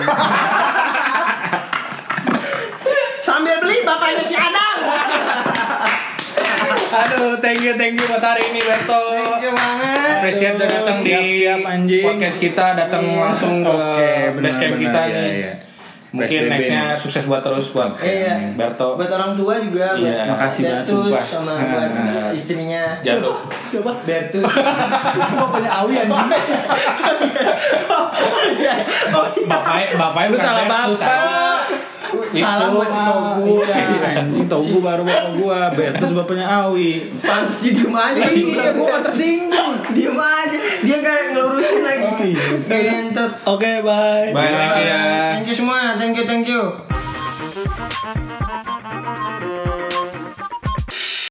S1: sambil beli bapaknya si Adam.
S2: Aduh, thank you, thank you buat hari ini Berto.
S4: banget.
S2: Appreciate udah datang di
S4: Siap-siap, anjing.
S2: podcast kita, datang langsung ke
S4: Oke, benar,
S2: base camp
S4: benar,
S2: kita
S4: iya,
S2: nih.
S4: iya.
S2: Mungkin
S4: PSBB
S2: nextnya
S4: nih.
S2: sukses buat terus buat
S1: Iya.
S2: Berto.
S1: Buat orang tua juga. buat
S2: Iya,
S4: makasih banget,
S1: Bertus
S4: sumpah.
S1: Sama buat
S4: Ah.
S1: istrinya.
S2: Jatuh.
S1: Siapa? Bertus. Siapa punya Awi anjing? Oh iya. Oh iya.
S2: Bapaknya, bapaknya
S1: Lu
S2: bukan
S1: salah
S2: Bertus,
S1: bapak.
S2: Gitu.
S1: Salam buat si Togu.
S4: Oh, iya, Anjing tau gue baru bapak gua Bertus bapaknya Awi
S1: Pantes dia diem aja. Iya, gue gak tersinggung. Diem aja. Dia gak ngelurusin lagi.
S4: Iya.
S1: Gentot.
S3: Oke, bye.
S2: Bye, ya.
S1: Thank you semua. Thank you, thank you.